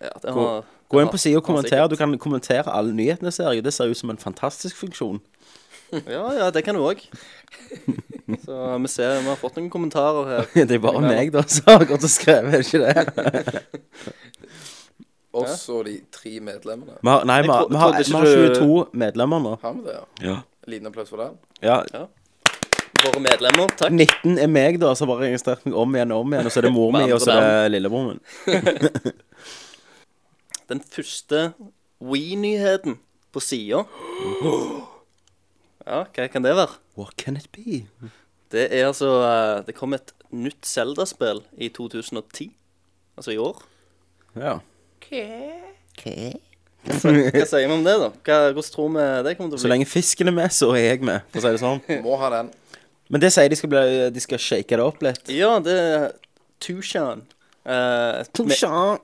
Ja, det Gå, har- gå det inn har- på sida og det har kommenter. Du kan kommentere alle nyhetene i serien. Det ser ut som en fantastisk funksjon. sikkert- Ja, ja, det kan du òg. Så vi ser, vi har fått noen kommentarer her. Det er bare meg, da, som har gått og skrevet, er det ikke det? Og så de tre medlemmene. Vi har, nei, vi har, vi Jeg trodde har, ikke vi har du- 22 medlemmer nå. Har vi det, ja? Ja. Liten applaus for den. Våre medlemmer, takk. 19 er meg, da, som har registrert meg om igjen og om igjen. Og så er det mor mi, og så er det lillebror min. den første We-nyheten på sida. Ja, hva kan det være? What can it be? Det er altså eh, Det kom et nytt Zelda-spill i 2010. altså i år. Ja. Hva sier vi om det, da? Hva, hvordan tror vi det Så kommer til å bli? lenge fisken er med, så er jeg med, for å si det sånn. Må ha den. Men det sier de skal, bli, de skal shake det opp litt. Ja, det er Tushan. Eh, et me-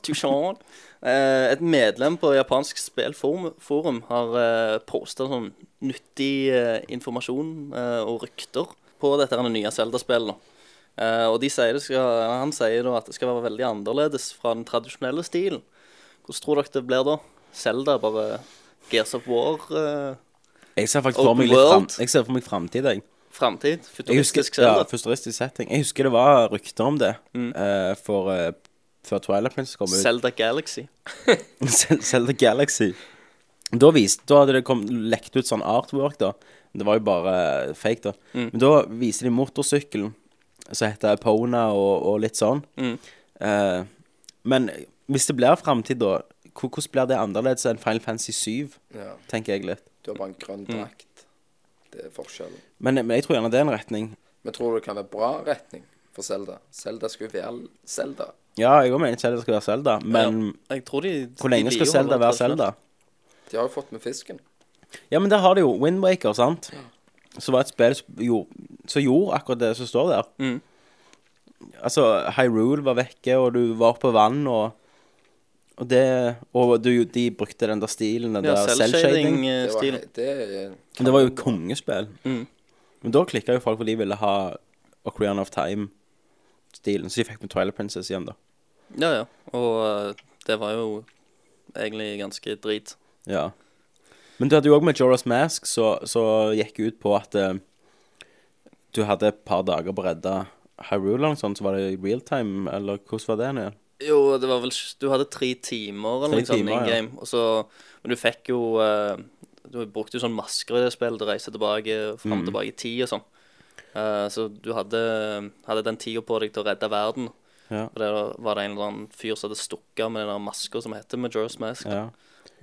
Tushan. Eh, et medlem på japansk spillforum forum har eh, posta sånn nyttig eh, informasjon eh, og rykter på dette her nye Zelda-spillet. nå. Eh, og de sier det skal, han sier da at det skal være veldig annerledes fra den tradisjonelle stilen. Hvordan tror dere det blir da? Zelda bare Gears of War? Eh, Jeg ser faktisk for meg Open litt fram, world. jeg ser for meg framtid, jeg. Framtid? Jeg husker, Futuristisk Mm. ja, Zelda? futuristisk setting. Jeg husker det var rykter om det eh, for, eh, før Twilight Prince kom ut. Zelda Galaxy? Sel- Zelda Galaxy. Da, viste, da hadde det kom, lekt ut sånn artwork, da. Det var jo bare eh, fake, da. Mm. Men da viste de motorsykkelen som heter Pona og, og litt sånn. Mm. Eh, men hvis det blir framtid, da, hvor- hvordan blir det annerledes enn Final Fantasy 7? Ja. Tenker jeg litt. Du har bare en grønn Mm. drakt. Det er forskjellen. Men, men jeg tror gjerne det er en retning. Men tror du det kan være bra retning for Zelda? Zelda skulle være Zelda. Ja, jeg også mener ikke det skal være Zelda, men ja, jeg tror de, hvor lenge de skal liker å Zelda holde være det tradisjonelt. Zelda? De har jo fått med fisken. Eh, Ja, men der har de jo Windwaker, sant? Som var et spill som gjorde, som gjorde akkurat det som står der. Mhm. Altså, Hyrule var vekke, og du var på vann, og Og, det, og du, de brukte den der stilen, den Ja, eh, der selvshading. Det var, selvshading-stilen. det eh, er Det var jo et kongespill. Mhm. Men da klikka jo folk fordi de ville ha Ocarina of Time-stilen, så de fikk med Twilight Princess igjen, da. Ja, ja. Og eh, det var jo egentlig ganske drit. Ja. Men du hadde jo òg med Joras Mask, så, så gikk det ut på at eh, du hadde et par dager på å redde Hyrule, eller noe sånt, så var det i real time, eller hvordan var det nå igjen? Jo, det var vel s- Du hadde tre timer Tre eller noe sånt timer, in ja. game. Og så Men du fikk jo eh, Du brukte jo sånn masker i det spillet. Du reiste tilbake fram og Mm. tilbake i tid og sånn. Eh, så du hadde, hadde den tida på deg til å redde verden. Ja. Og der var det en eller annen fyr som hadde stukket av med den der maska som heter Majora's Mask. Ja,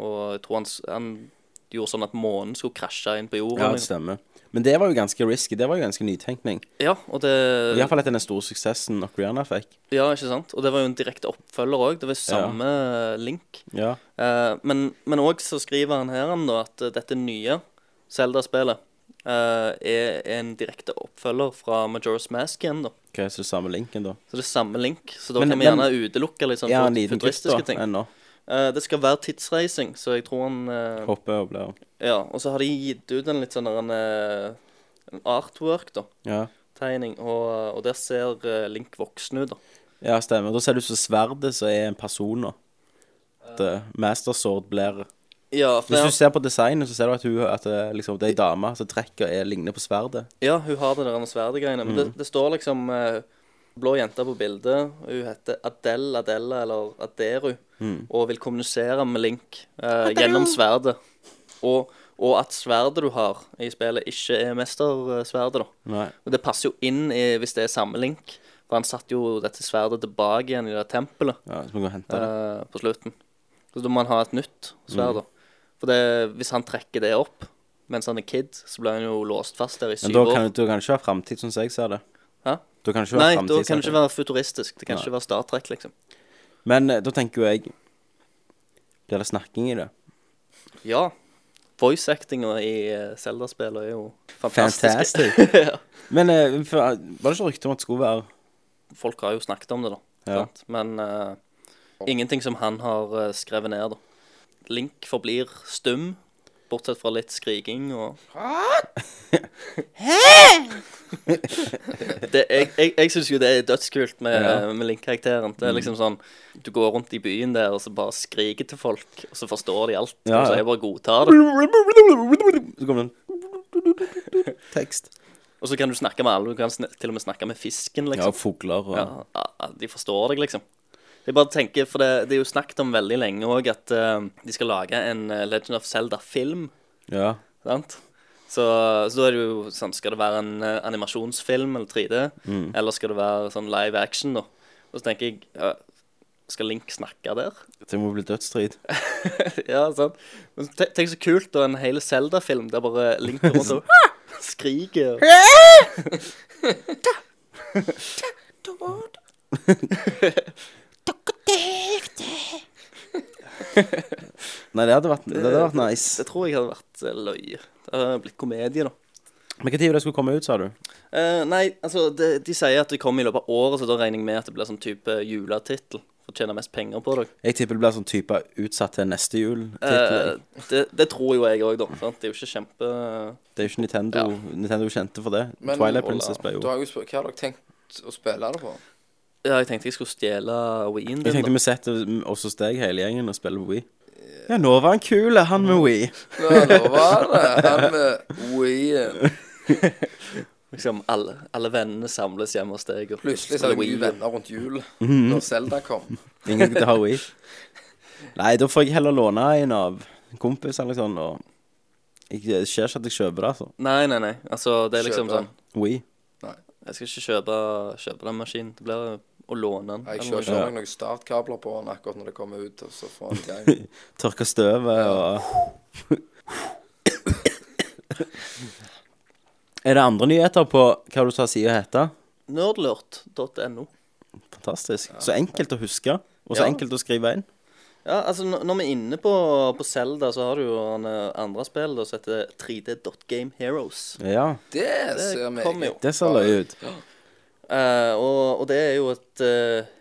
Og jeg tror han, s- han gjorde sånn at månen skulle krasje inn på liksom. ja jorda. det stemmer. Men det var jo ganske risky, det var jo ganske nytenkning. ja og det Iallfall etter den store suksessen Ocarina fikk. Ja, ikke sant? Og det var jo en direkte oppfølger òg. Det var samme link. Ja. Eh, men men òg så skriver han her han da, at eh, dette nye Zelda-spillet eh, er en direkte oppfølger fra Majora's Mask igjen, da. Ok, så det samme linken, da. Så det er samme link. Så da Men- kan vi men- gjerne utelukke litt sånn Ja, en fut- liten klipp, futuristiske da, ting. ennå. Eh, det skal være tidsreising, så jeg tror han eh, Hoppe og blære. Ja, og så har de gitt ut en litt sånn der en, eh, en artwork, da. Ja. Tegning. Og, og der ser eh, Link voksen ut, da. ja, stemmer. Da ser det ut som sverdet som er en person, da. At eh, Master Sword blir Ja, for Hvis det- du ser på designet, så ser du at, hun, at det, liksom, det er ei dame som trekker er ligner på sverdet. Ja, hun har det der med sverdegreiene. Mhm. Men det, det står liksom eh, blå jente på bildet. og Hun heter Adele, Adela eller Aderu. Mhm. Og vil kommunisere med Link eh, gjennom sverdet. Og, og at sverdet du har i spillet, ikke er mestersverdet, da. Nei. Og det passer jo inn i, hvis det er samme Link. For han satte jo dette sverdet tilbake igjen i det tempelet Ja, Mhm. så må vi gå og hente det. eh, på slutten. Så da må han ha et nytt sverd, da. For det, hvis han trekker det opp mens han er kid, så blir han jo låst fast der i Men syv da år. kan, du- da kan det ikke være framtid, sånn som jeg ser det. Hæ? Da kan det ikke være Nei, fremtid, sånn da kan det ikke som jeg- være futuristisk. Det kan Nei. ikke være Star Trek, liksom. Men eh, da tenker jo jeg Blir det snakking i det? Ja. Voice-actinga i eh, Zelda-spillet er jo fantastisk. Fantastic. Men eh, for, var det ikke rykte om at det skulle være Folk har jo snakket om det, da. Ja. Sant? Men eh, ingenting som han har eh, skrevet ned, da. Link forblir stum, bortsett fra litt skriking og det, jeg jeg, jeg syns jo det er dødskult med, Ja. Mm. med Link-karakteren. Det er liksom sånn Du går rundt i byen der og så bare skriker til folk, og så forstår de alt. Ja, Og så ja. jeg bare godtar det. Så kommer det en tekst. Og så kan du snakke med alle, du kan sn til og med snakke med fisken, Ja, liksom. fugler og Ja, ja, ja, de forstår deg, liksom. Jeg bare tenker, for det, det er jo snakket om veldig lenge òg at eh, de skal lage en eh, Legend of Zelda-film. Ja. sant? Så, så da er det jo sånn Skal det være en eh, animasjonsfilm eller 3D? Eller skal det være sånn live action, da? Og så tenker jeg ja, Skal Link snakke der? Det må bli dødsstrid. ja, sant? Men te- tenk så kult, da. En hel Zelda-film der bare Link går rundt og skriker. Nei, det hadde vært, det hadde vært nice. Det tror jeg hadde vært eh, løye. Det hadde blitt komedie, da. Men når det skulle komme ut, sa du? Eh, nei, altså, de, de sier at det kommer i løpet av året, så da regner jeg med at det blir sånn type juletittel. For å tjene mest penger på det. Jeg tipper det blir sånn type utsatt til neste jul. Eh, titler. det, det tror jo jeg òg, da. Sant? Det er jo ikke kjempe det er jo ikke Nintendo Nintendo kjente for det. Men Twilight Princess ble jo Da har jeg jo spurt, hva har dere tenkt å spille det på? Ja, jeg tenkte jeg skulle stjele Ween Jeg din. tenkte da. vi setter oss hos deg hele gjengen og spiller Wii. Ja, nå var han kul, han med Wii. Nå nå var det han med Wii. eh, Liksom, alle, alle vennene samles hjemme hos deg. og Plutselig så spiller hadde jeg mye Wii. venner rundt jul Mhm. når Zelda kom. Ingen til å ha Wii. Nei, da får jeg heller låne en av kompisene, liksom. Og jeg, det skjer ikke at jeg kjøper det, altså. Nei, nei, nei. Altså, det er liksom Kjøpe. sånn Wii. Jeg skal ikke kjøpe, kjøpe den maskinen. Det blir å låne den. Jeg eller kjører noe. ikke nok noen startkabler på den akkurat når det kommer ut, og så får han i gang. Tørke støvet og Er det andre nyheter på hva du sa sida heter? Nerdlurt.no. Fantastisk. Så enkelt å huske, og så Ja. enkelt å skrive inn. Ja, altså, n- når vi er inne på, på Zelda, så har du jo han eh, andre spill da, som heter 3D.Game Heroes. Ja, Det Det ser kom vi. jo. det ser løye ut. Eh, og, og det er jo et eh,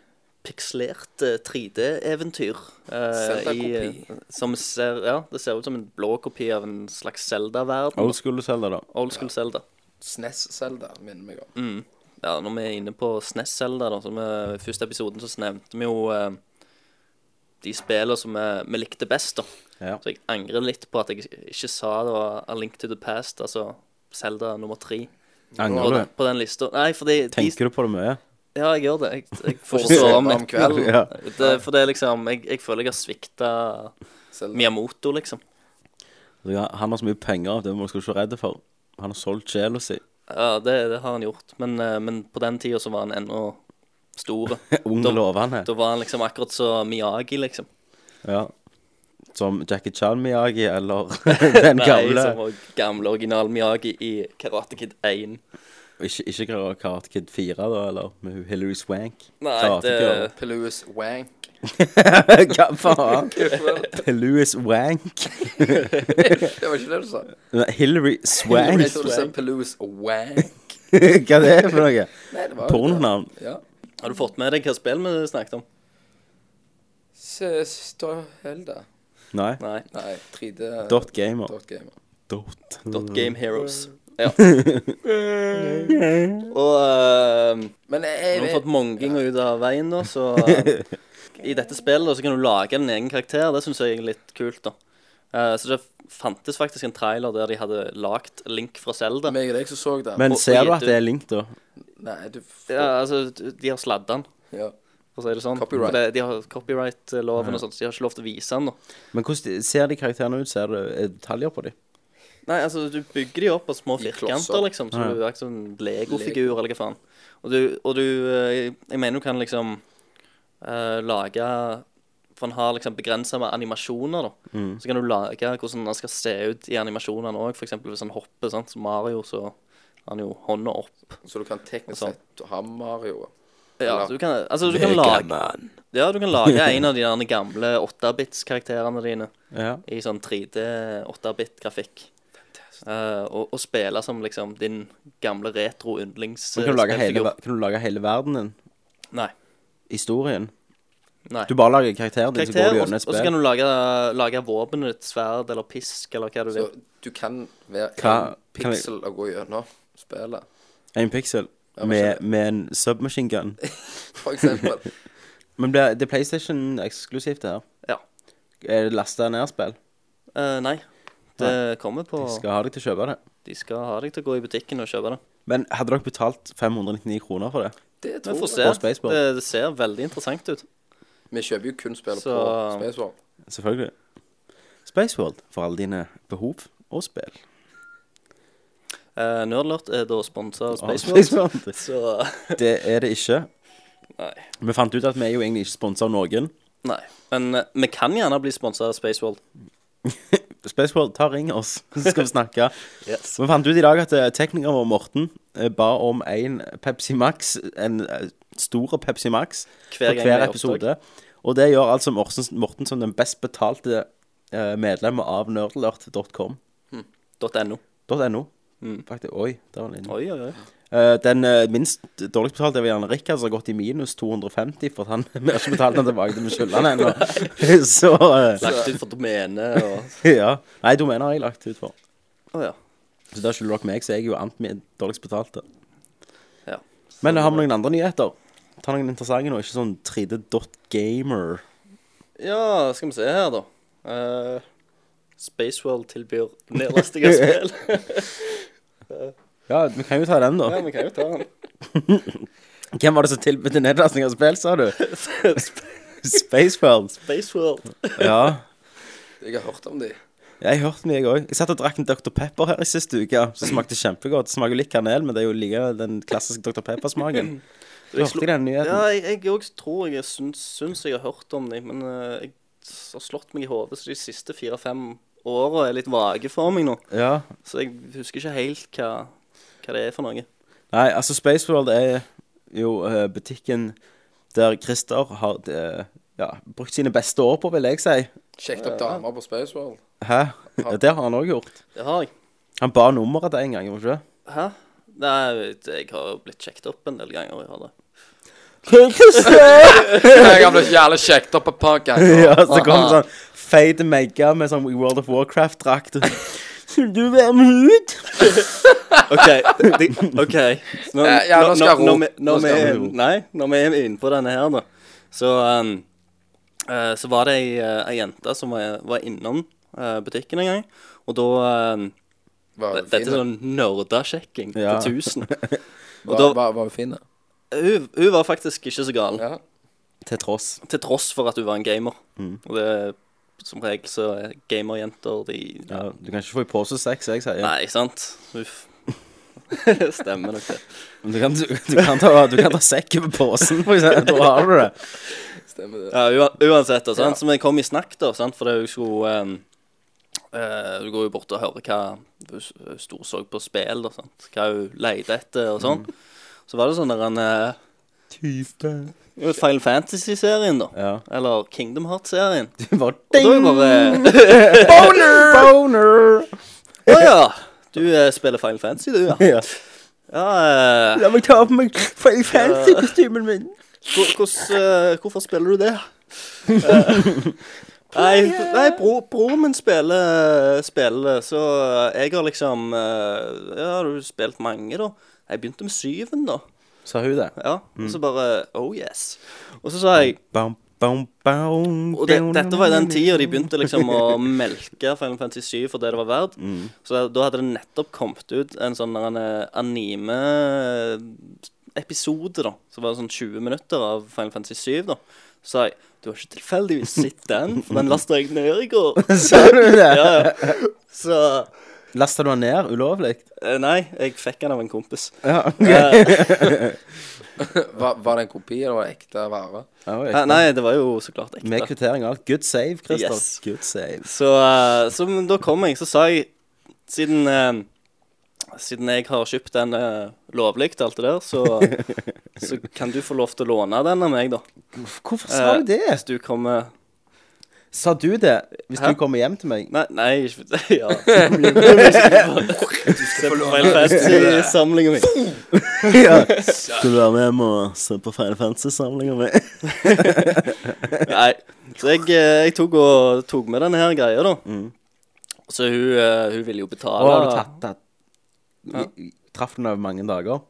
pikslert eh, 3D-eventyr. eh, Zelda-kopi. i, eh, Som ser Ja, det ser ut som en blå kopi av en slags Zelda-verden. Old school Zelda, da. Old school Zelda. SNES-Zelda minner meg om. Ja, når vi er inne på SNES-Zelda, da, som eh, i første episoden, så nevnte vi jo eh, de spillene som eh, vi likte best, da. Ja. Så jeg angrer litt på at jeg ikke sa det var A Link to the Past, altså Zelda nummer tre. På, Angrer du? på den lista. Nei, fordi de, Tenker du på det mye? Ja, jeg gjør det. Jeg, jeg får Fortsett ikke sove om om netten. kvelden. Ja. Det, for det er liksom Jeg, jeg føler jeg har svikta Zelda. Miyamoto, liksom. Ja, Han har så mye penger, det må du ikke være redd for. Han har solgt sjela si. Ja, det, det har han gjort. Men, eh, men på den tida så var han ennå stor. Ung og lovende. Da var han liksom akkurat så Miyagi, liksom. Ja. Som Jackie Chan Miyagi, eller den Nei, gamle som var gamle original Miyagi i Karate Kid 1. Ikke, ikke Kar- Karate Kid 4, da, eller med hun Hilary Swank? Nei, Karate det- Kid, Peluis Wank. eller? Hva faen? Louis Wank? Det var ikke det du sa? Nei, Hilary Jeg Swank? tror du sa Peluis Wank. Hva er det for noe? Nei, det var jo det. Pornonavn? Ja. Har du fått med deg hva spill vi snakket om? Ståhelda. Nei. Nei. Nei, 3D Dot gamer. Dot gamer. Dot. Dot Game Heroes. Ja. Og eh, Men jeg, Nå har vi jeg, fått monginga ut av veien, da, så eh, I dette spillet så kan du lage din egen karakter. Det syns jeg er litt kult, da. Eh, så det fantes faktisk en trailer der de hadde lagd Link fra Zelda. meg og deg som så den. Men Og- ser og du at gitt det er link, da? Nei, du får Ja, altså, de har sladda den, ja. for å si det sånn. Copyright. For det, de har copyright-loven og sånt, så de har ikke lov til å vise den, da. Men hvordan ser de karakterene ut? Ser du er det detaljer på dem? Nei, altså, du bygger de opp av små I klosser. firkanter, liksom. Så du er ikke sånn Lego-figur, eller hva faen. Og du, og du eh, Jeg mener du kan liksom eh, lage For han har liksom begrensa med animasjoner, da. Så kan du lage hvordan han skal se ut i animasjonene òg. F.eks. hvis han hopper, sant, som Mario, så har han jo hånda opp. Så du kan teknisk Sånn. sett ha Mario. Ja, så du kan, altså, du kan lage Ja, du kan lage en av de der gamle 8-bits-karakterene dine Ja. i sånn 3D 8-bit-grafikk. Eh, og, og spille som liksom din gamle retro yndlings Men eh, Kan du, lage hele, ver- kan du lage hele verden din? Nei. Historien? nei. Du bare lager karakteren din, så går du Karakter, og, gjennom et og så kan spill? du lage, lage våpenet ditt, sverd eller pisk eller hva du Så vil. du kan være Hva- en kan vi- pixel og gå gjennom spillet, En pixel? men Med, så- med en submachine gun? for eksempel. Men det, det er PlayStation eksklusivt, det her? Ja. Er det lasta ned spill? Eh, nei. Det kommer på Jeg skal ha deg til å kjøpe det. De skal ha deg til å gå i butikken og kjøpe det. Men hadde dere betalt 599 kroner for det? Det Vi tror får jeg. se. Eh, På Spaceball. Det, det ser veldig interessant ut. Vi kjøper jo kun spillet Så- på Spacewalk. Selvfølgelig. Spaceworld for alle dine behov og spill. Uh, Nerdlert er da sponsa av Av Spaceworld. Spaceworld. Så Det er det ikke. Nei. Vi fant ut at vi er jo egentlig ikke sponsa av noen. Nei. Men eh, vi kan gjerne bli sponsa av Spaceworld. Spaceworld, ta og ring oss, så skal vi snakke. Vi fant ut i dag at eh, teknikeren vår, Morten, eh, ba om en Pepsi Max, en eh, stor Pepsi Max, Hver for gang vi hver er i episode. Og det gjør altså Morten, Morten som den best betalte eh, medlem av nerdalert.com. .no. .no. Faktisk. Oi, der var den inne. Mm. Oi, oi, oi. Eh, den eh, minst dårligst betalte var gjerne Rikard, som har gått i minus 250 for at han vi har ikke betalt han tilbake til vi skylder han ennå. Så eh, Lagt ut for domene og ja. Nei, domener har jeg lagt ut for. Å ja. Så der skylder dere meg, så jeg er jo annet med dårligst betalte. ja. Men har vi noen andre nyheter? Ta noen interessante nå, ikke sånn 3D.gamer. Ja, skal vi se her, da. Eh, Spaceworld tilbyr nedlasting av spill. Ja, vi kan jo ta den, da. ja, vi kan jo ta den. Hvem var det som tilbød nedlastning av spill, sa du? Spaceworld. Spaceworld. Ja. Jeg har hørt om de. Jeg hørte mye, jeg òg. Jeg satt og drakk en Dr. Pepper her i siste uke, som smakte kjempegodt. Smaker jo litt kanel, men det er jo like den klassiske Dr. Pepper-smaken. Hørte jeg den nyheten? Ja, jeg, jeg også tror jeg syns, syns jeg har hørt om dem, men eh, jeg s- har slått meg i hodet, så de siste fire-fem åra er litt vage for meg nå. Ja. Så jeg husker ikke helt hva, hva det er for noe. Nei, altså Spaceworld er jo eh, butikken der Christer har eh, ja, brukt sine beste år på, vil jeg si. Sjekket opp damer på Spaceworld. Hæ? Ja, det har han òg gjort. Det har jeg. Han ba nummeret til en gang, gjorde han ikke det? Hæ? Nei, jeg har jo blitt sjekket opp en del ganger. Jeg har det. Jeg har blitt jævlig sjekket opp et par ganger. Ja, så kom det sånn feit megga med sånn World of Warcraft-drakt. Vil du være med ut? OK. De, ok. Nå, Eh, ja, nå skal jeg ro. når vi- når Nå skal vi- jeg ro. Nei, når vi er inne på denne her, da, så um, eh, Så var det ei, eh, ei jente som var, var innom eh, butikken en gang, og da um, Var hun Dette er fin? sånn nerdasjekking Ja. på 1000. Og Var, da, var, var hun fin? da? hun, hun var faktisk ikke så gal, Ja. Til tross. til tross for at hun var en gamer. Mm. Og det som regel så er gamerjenter de Ja, du kan ikke få i pose sex, jeg sier. Nei, sant? Uff. Stemmer nok det. Men du kan, du, du kan ta, du kan ta sekken på posen, for eksempel. Da har du det. Stemmer det. Ja, ua- uansett, da, sant? så vi kom i snakk, da, sant? for hun skulle um, eh, Hun går jo bort og hører hva hun s- hun storså på spill, da, sant? hva hun leide etter og sånn. Så var det sånn der en eh, Type. jo, Final Fantasy-serien, da. Ja. Eller Kingdom Hearts-serien. Og Du bare da er hun bare Boner! Å ja! Du eh, spiller Final Fantasy, du, ja. Ja. ja eh, La meg ta på meg Final Fantasy-kostymen min. Hvor- hvordan, eh, hvorfor spiller du det? Eh, nei, nei bro, broren min spiller, spiller så jeg har liksom eh, Ja, har du spilt mange, da? Jeg begynte med syven, da. Sa hun det? Ja, Og så bare Oh yes. Og så sa jeg Bam, bam, bam, Og det, dette var i den tida de begynte liksom å melke Final Fantasy 7 for det det var verdt. Så da, da hadde det nettopp kommet ut en sånn der en, eh, anime-episode, da. Så var det sånn 20 minutter av Final Fantasy 7, da. Så sa jeg du har ikke tilfeldigvis sett den, for den lasta jeg ned i går. Sa du det? Ja, ja. Så Lasta du den ned ulovlig? eh, Nei, jeg fikk den av en kompis. Eh, Ja. Var, var det en kopi, eller var det ekte vare? Eh, Nei, det var jo så klart Med ekte. kvittering og alt. Good save, Christer. Yes. Good save. Så, eh, så men da kom jeg, så sa jeg Siden, eh, siden jeg har kjøpt den eh, lovlig til alt det der, så, så kan du få lov til å låne den av meg, da. Hvorfor sa du Eh, det? Hvis du kommer Sa du det hvis Hæ? du kommer hjem til meg? Nei, nei ikke Ja. Du skal få Final Fantasy-samlinga mi. Skal du være med hjem og se på Final Fantasy-samlinga mi? Nei. Så jeg, eh, jeg tok, og, tok med denne her greia, da. Så hun, eh, hun ville jo betale. Mm. Har du tatt det? Ja. I- i- Traff du den over mange dager?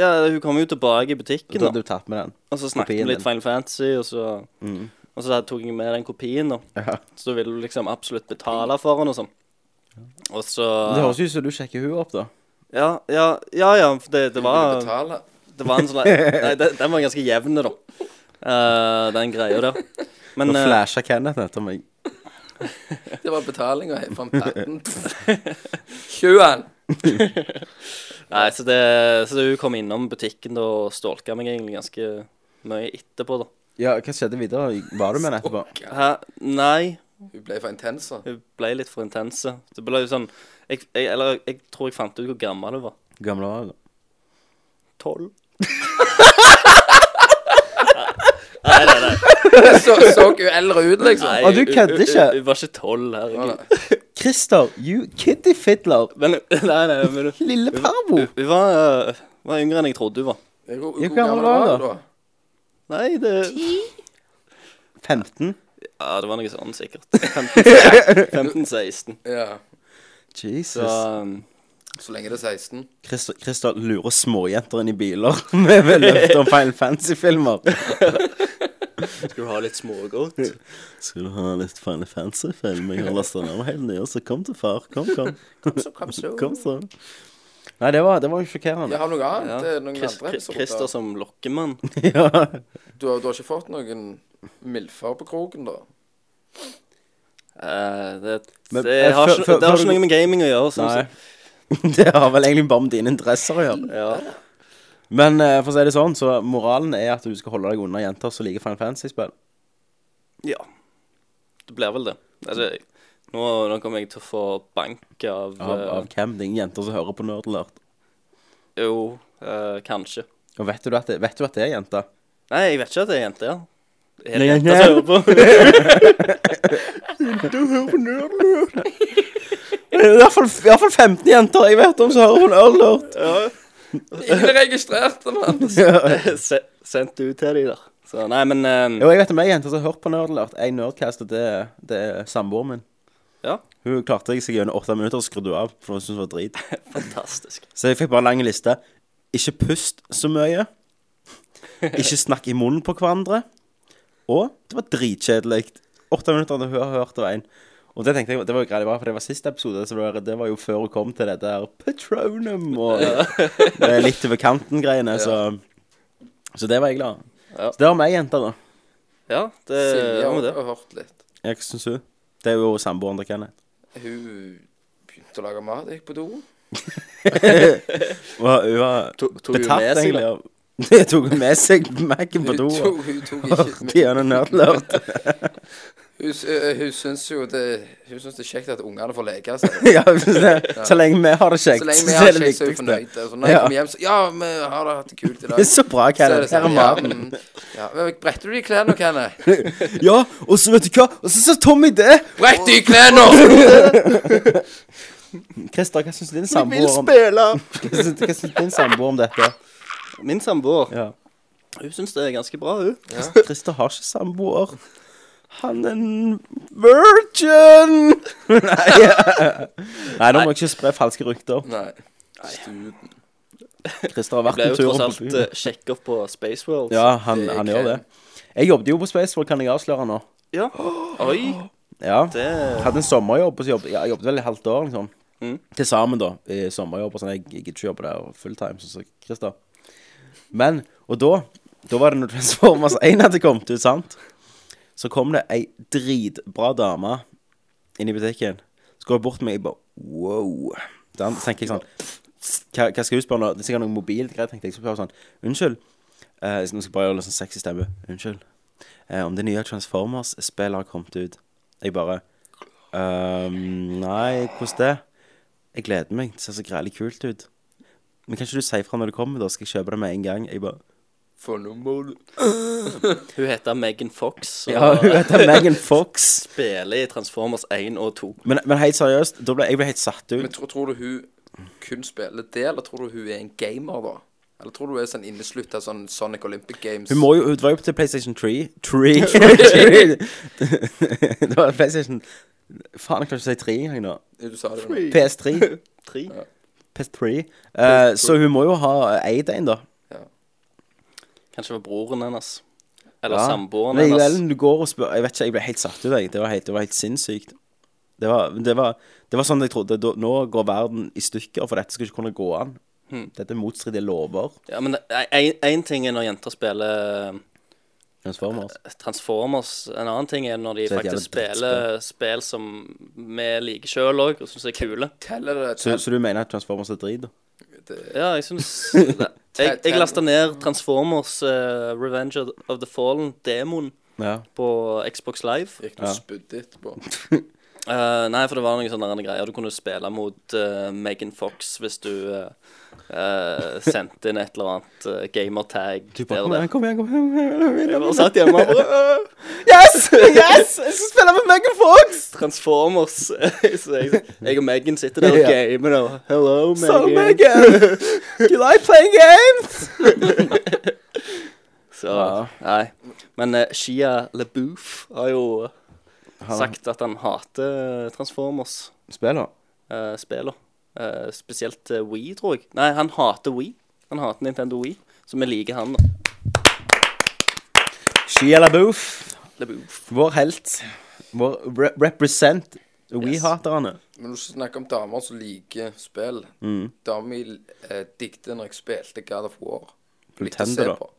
Ja, Hun kom jo tilbake i butikken, Da da. hadde du tatt med den. Og så snakket vi Kopien litt din. Mm. Final Fantasy, og så, og så tok jeg med den kopien, da. Ja. Så da ville du liksom absolutt betale for den og sånn. Og så Det høres ut som du sjekker hun opp, da. Ja, ja, ja, ja for det, det Vil du var betale? Det var en sånn Nei, den, den var ganske jevn, da. Eh, den greia der. Men Nå eh, flasha Kenneth etter meg. Det var betaling og jeg fant patten. Tjuen! Nei, så det Så det, hun kom innom butikken da og stalka meg egentlig ganske mye etterpå, da. Ja, hva skjedde videre? Var du med henne etterpå? Hæ? Nei. Hun ble for intens. da. Hun ble litt for intense. Det ble jo sånn jeg, jeg, Eller jeg tror jeg fant ut hvor gammel hun var. Gamle var hun da. Tolv? så, så jo eldre ut, liksom. Nei, Å, du hun- kødder hun- ikke? Hun var ikke tolv, herregud. Christer, you kiddy fiddler. Men, nei, nei, men hun- Lille parvo. hun var, øh, var yngre enn jeg trodde hun var. Hvor, hvor gammel var han da? Nei, det 15. Ja, det var noe sånn, sikkert. 15-16. Ja. Jesus. Så um, Så lenge det er 16. Christer, Christer lurer småjenter inn i biler med med løfter om Final Fantasy-filmer. skal du ha litt smågodt? Skal du ha litt Final Fantasy-film? Jeg har lasta ned helt nye, så kom til far. Kom, kom. Så kom så. Kom så. Nei, det var, det var jo sjokkerende. Jeg har noe annet. Ja. Det er Noen Chris- andre Chris- Christer episoder. som lokkemann. Ja. Du, har- du har ikke fått noen milfer på kroken, da? Eh, det, Men, eh, det har før- ikke, før- det har før ikke du- noe med gaming å gjøre. Sånn, Nei. sett. Det har vel egentlig bare med dine interesser å gjøre. ja. Men eh, for å si det sånn, så moralen er at du skal holde deg unna jenter som liker Final Fantasy-spill. ja. Det blir vel det. Altså, nå, nå kommer jeg til å få bank av, Av, eh, av hvem? Det er ingen jenter som hører på Nerdlert. Jo, eh, kanskje. Og vet du, at det, vet du at det er jenter? Nei, jeg vet ikke at det er jente, ja. Er Nei, det jente nei. som hører på? Det er i hvert fall, i hvert fall 15 jenter jeg vet om som hører på Nerdlert. Ingen registrerte, mann! Se, sendt ut til de der. Så nei, men eh, Jo, jeg vet om ei jente som har hørt på Nerdlert. En Nerdcast, og det, det er samboeren min. Ja. Hun klarte seg gjennom åtte minutter og skrudde av, for hun syntes det var drit. Fantastisk. Så jeg fikk bare en lang liste. Ikke pust så mye. Ikke snakk i munnen på hverandre. Og det var dritkjedelig. Åtte minutter hadde hun hørt av en. Og det tenkte jeg, det var jo greit, det var, for det var siste episode, så det var, det var jo før hun kom til dette her Patronum og det er litt over kanten-greiene, så Så det var jeg glad Ja. Så det var meg, jenta, da. Ja, det Silje var har med det. har hørt litt. Jeg syns hun. Det er jo samboeren til Kenneth. Hun begynte å lage mat, gikk på do. Og hun var Tok hun betatt, med seg, egentlig. da? av- Det tok hun med seg Mac-en på Hun do. tok, og hun tok Hørte ikke gjennom nerdlørt. Hun, s- øh, hun syns jo det Hun syns det er kjekt at ungene får leke seg. ja, så, det, så lenge vi har det kjekt, Så lenge vi så har er det kjekt, så er hun viktigste. fornøyd. Så når jeg Ja. kommer hjem, så Ja, vi har da hatt det kult i Det dag. er så bra, er Kenneth. det Her er sånn, ja, maten. mm, Ja, men Bretter du de klærne, Kenneth? Ja, og så vet du hva? Og så sa Tommy det! Brett de klærne! Christer, hva syns din samboer om Hva syns- Hva syns din samboer om dette? Min samboer, Ja. hun syns det er ganske bra, hun. Christer har ikke samboer. Han er en virgin! Nei, ja. Nei, nå må jeg ikke spre falske rykter. Nei. Christer har vært Ble en jo tur tross på alt byen. eh, sjekka på Space World. Ja, han, han Det er gjør det. Jeg jobbet jo på Spaceworld, kan jeg avsløre nå. Ja. Oi, Ja. det Hadde en sommerjobb, og så jobbet, ja, jeg jobbet vel i halvt år, liksom. Eh. Mm. Til sammen, da. I sommerjobb og sånn. Jeg gidder ikke jobbe der fulltime, sånn som Christer. Men, og da Da var det når Transformers 1 hadde kommet ut, sant? Så kom det ei dritbra dame inn i butikken. Så går hun bort til meg, jeg bare wow. Da tenker jeg sånn Hva, hva skal hun spørre nå? Det er sikkert noe mobilt greit, tenkte jeg. Så spør hun sånn Unnskyld. Eh, nå skal jeg bare gjøre litt sånn sexy stemme. Unnskyld. Eh, om det nye Transformers-spillet har kommet ut. Jeg bare Ehm, nei, hvordan det? Jeg gleder meg. Det ser så grælig kult ut. Men kan ikke du si fra når det kommer, da? Skal jeg kjøpe det med en gang? Jeg bare For nummer Hun heter Megan Fox og Ja, hun heter Megan Fox. spiller i Transformers 1 og 2. Men, men helt seriøst, da ble jeg ble helt satt Men ut. tror, tror du hun kun spiller det, eller tror du hun er en gamer, da? Eller tror du hun er sånn inneslutta sånn Sonic Olympic Games? Hun må jo Hun var jo til PlayStation 3. Tree. Tree. det var PlayStation Faen, jeg klarer ikke å si 3 engang nå. Du sa det. jo nå. PS3. Tre. PS3. Eh, så hun må jo ha eid en, da. Kanskje det var broren hennes. Eller Ja. samboeren Men hennes. likevel, du går og spør Jeg vet ikke, jeg ble helt satt ut, jeg. Det var helt, det var helt sinnssykt. Det var, det, var, det var sånn jeg trodde. Da, nå går verden i stykker, for dette skal ikke kunne gå an. Hmm. Dette er motstridige lover. Ja, men én ting er når jenter spiller ehm, Transformers. Transformers. En annen ting er når de Så er det faktisk jævla spiller spill som vi liker sjøl òg, og syns er kule. Teller det Så, tell, så du mener at Transformers er drit, da? Ja, jeg syns Jeg, jeg lasta ned Transformers eh, Revenge of of the Fallen, demoen, Ja. på Xbox Live. Gikk du spydd etterpå? Eh, nei, for det var noen sånne andre greier. Du kunne spille mot eh, Megan Fox hvis du eh, eh, sendte inn et eller annet eh, gamertag Du der bare og Kom der. igjen, kom igjen. kom igjen, kom igjen. Jeg bare satt hjemme og bare «Øh, Yes! Yes! Jeg skal spille med Megan Fox! Transformers. Så jeg, jeg og Megan sitter der og Ja. gamer og Hello, So, Megan. Megan, do you like playing games? Så, Ja. nei. Men eh, Shia LaBeouf har jo sagt at han hater Transformers. Spiller. uh, spiller. Eh, spesielt eh, Wii, tror jeg. Nei, han hater Wii. Han hater Nintendo Wii, så vi liker han. da. Shia LaBeouf, LaBeouf. vår helt. Vår re represent. We-haterne. Men når du snakker om damer som liker spill Mm. Damer jeg eh, digget når jeg spilte God of War. Hun likte å se tender, da. på.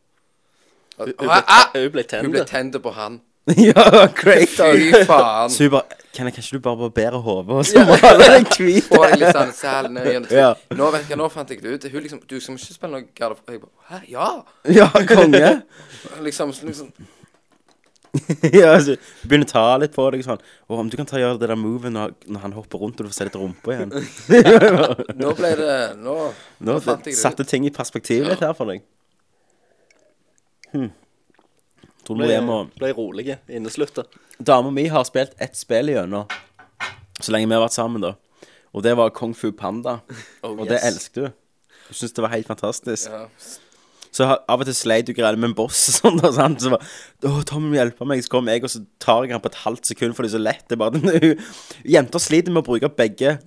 At- Hun Ah, ble, ah! hun ble Hun ble tent. tender på han. ja, great. Fy faen. Så hun bare Kan jeg kanskje du bare barbere hodet, og så maler den hvit? Og jeg liksom sælen ned igjen. Ja. Nå vet jeg, nå fant jeg det ut. Hun liksom Du skal ikke spille noe God of War. Jeg bare, Hæ? Ja! Ja, konge. Liksom, liksom ja, altså, begynner å ta litt på deg sånn. Å, om du kan ta gjøre det der moven når, når han hopper rundt og du får se litt rumpe igjen. Nå ble det Nå, Nå fant jeg det satte ut. ting i perspektiv litt her for deg. Hm. Tror du Ble, må hjem og ble rolig inneslutta. Dama mi har spilt ett spill igjennom så lenge vi har vært sammen, da. Og det var Kung Fu Panda. og det elsket du. Du syntes det var helt fantastisk. Ja. Så har- av og til sleit du greier med en boss og sånn, og sånn, så bare Å, Tom, hjelpe meg. Så kom jeg, og så tar jeg han på et halvt sekund, for det er så lett. Det er bare Jenter sliter med å bruke begge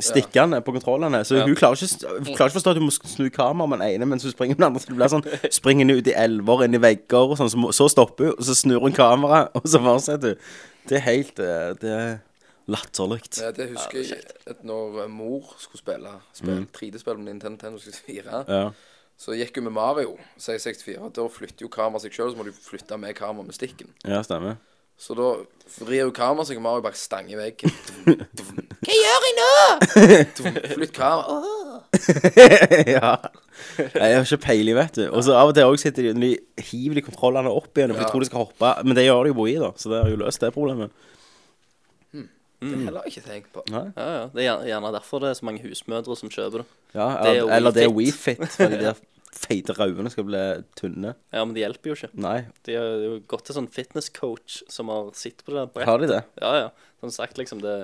stikkene på kontrollene, så hun klarer ikke, s- klarer ikke forstå at hun må snu kameraet med den ene mens hun springer med den andre. Så det blir sånn Springer hun ut i elver, inn i vegger og sånn, så, må- så stopper hun, og så snur hun kameraet, og så fortsetter hun. Det er helt eh, Det er latterlig. Ja, det husker jeg at når eh, mor skulle spille, spille 3D-spill med Nintendo 64, Mm. Ja. så gikk hun med Mario 664. og Da flytter jo kameraet seg sjøl, så må du flytte med kameraet med stikken. ja, stemmer. Så da vrir hun kameraet seg, og Mario bare stanger i veggen. Hva gjør jeg nå?! Flytt kameraet. ja. Nei, Jeg har ikke peiling, vet du. Og så av og til også sitter de når de hiver de kontrollene opp igjen, for de tror de skal hoppe. Men det gjør de jo på i, da, så det har jo løst det problemet. Det har jeg ikke tenkt på. Ja, ja. Det er gjerne- gjerne derfor det er så mange husmødre som kjøper det. Ja, Det er eller, jo eller det er Wii WeFit, for de der feite raudene skal bli tynne. Ja, Men det hjelper jo ikke. Nei, De har jo gått til sånn fitnesscoach som har sittet på det der brettet. har de det? Ja, ja. Som sagt, liksom det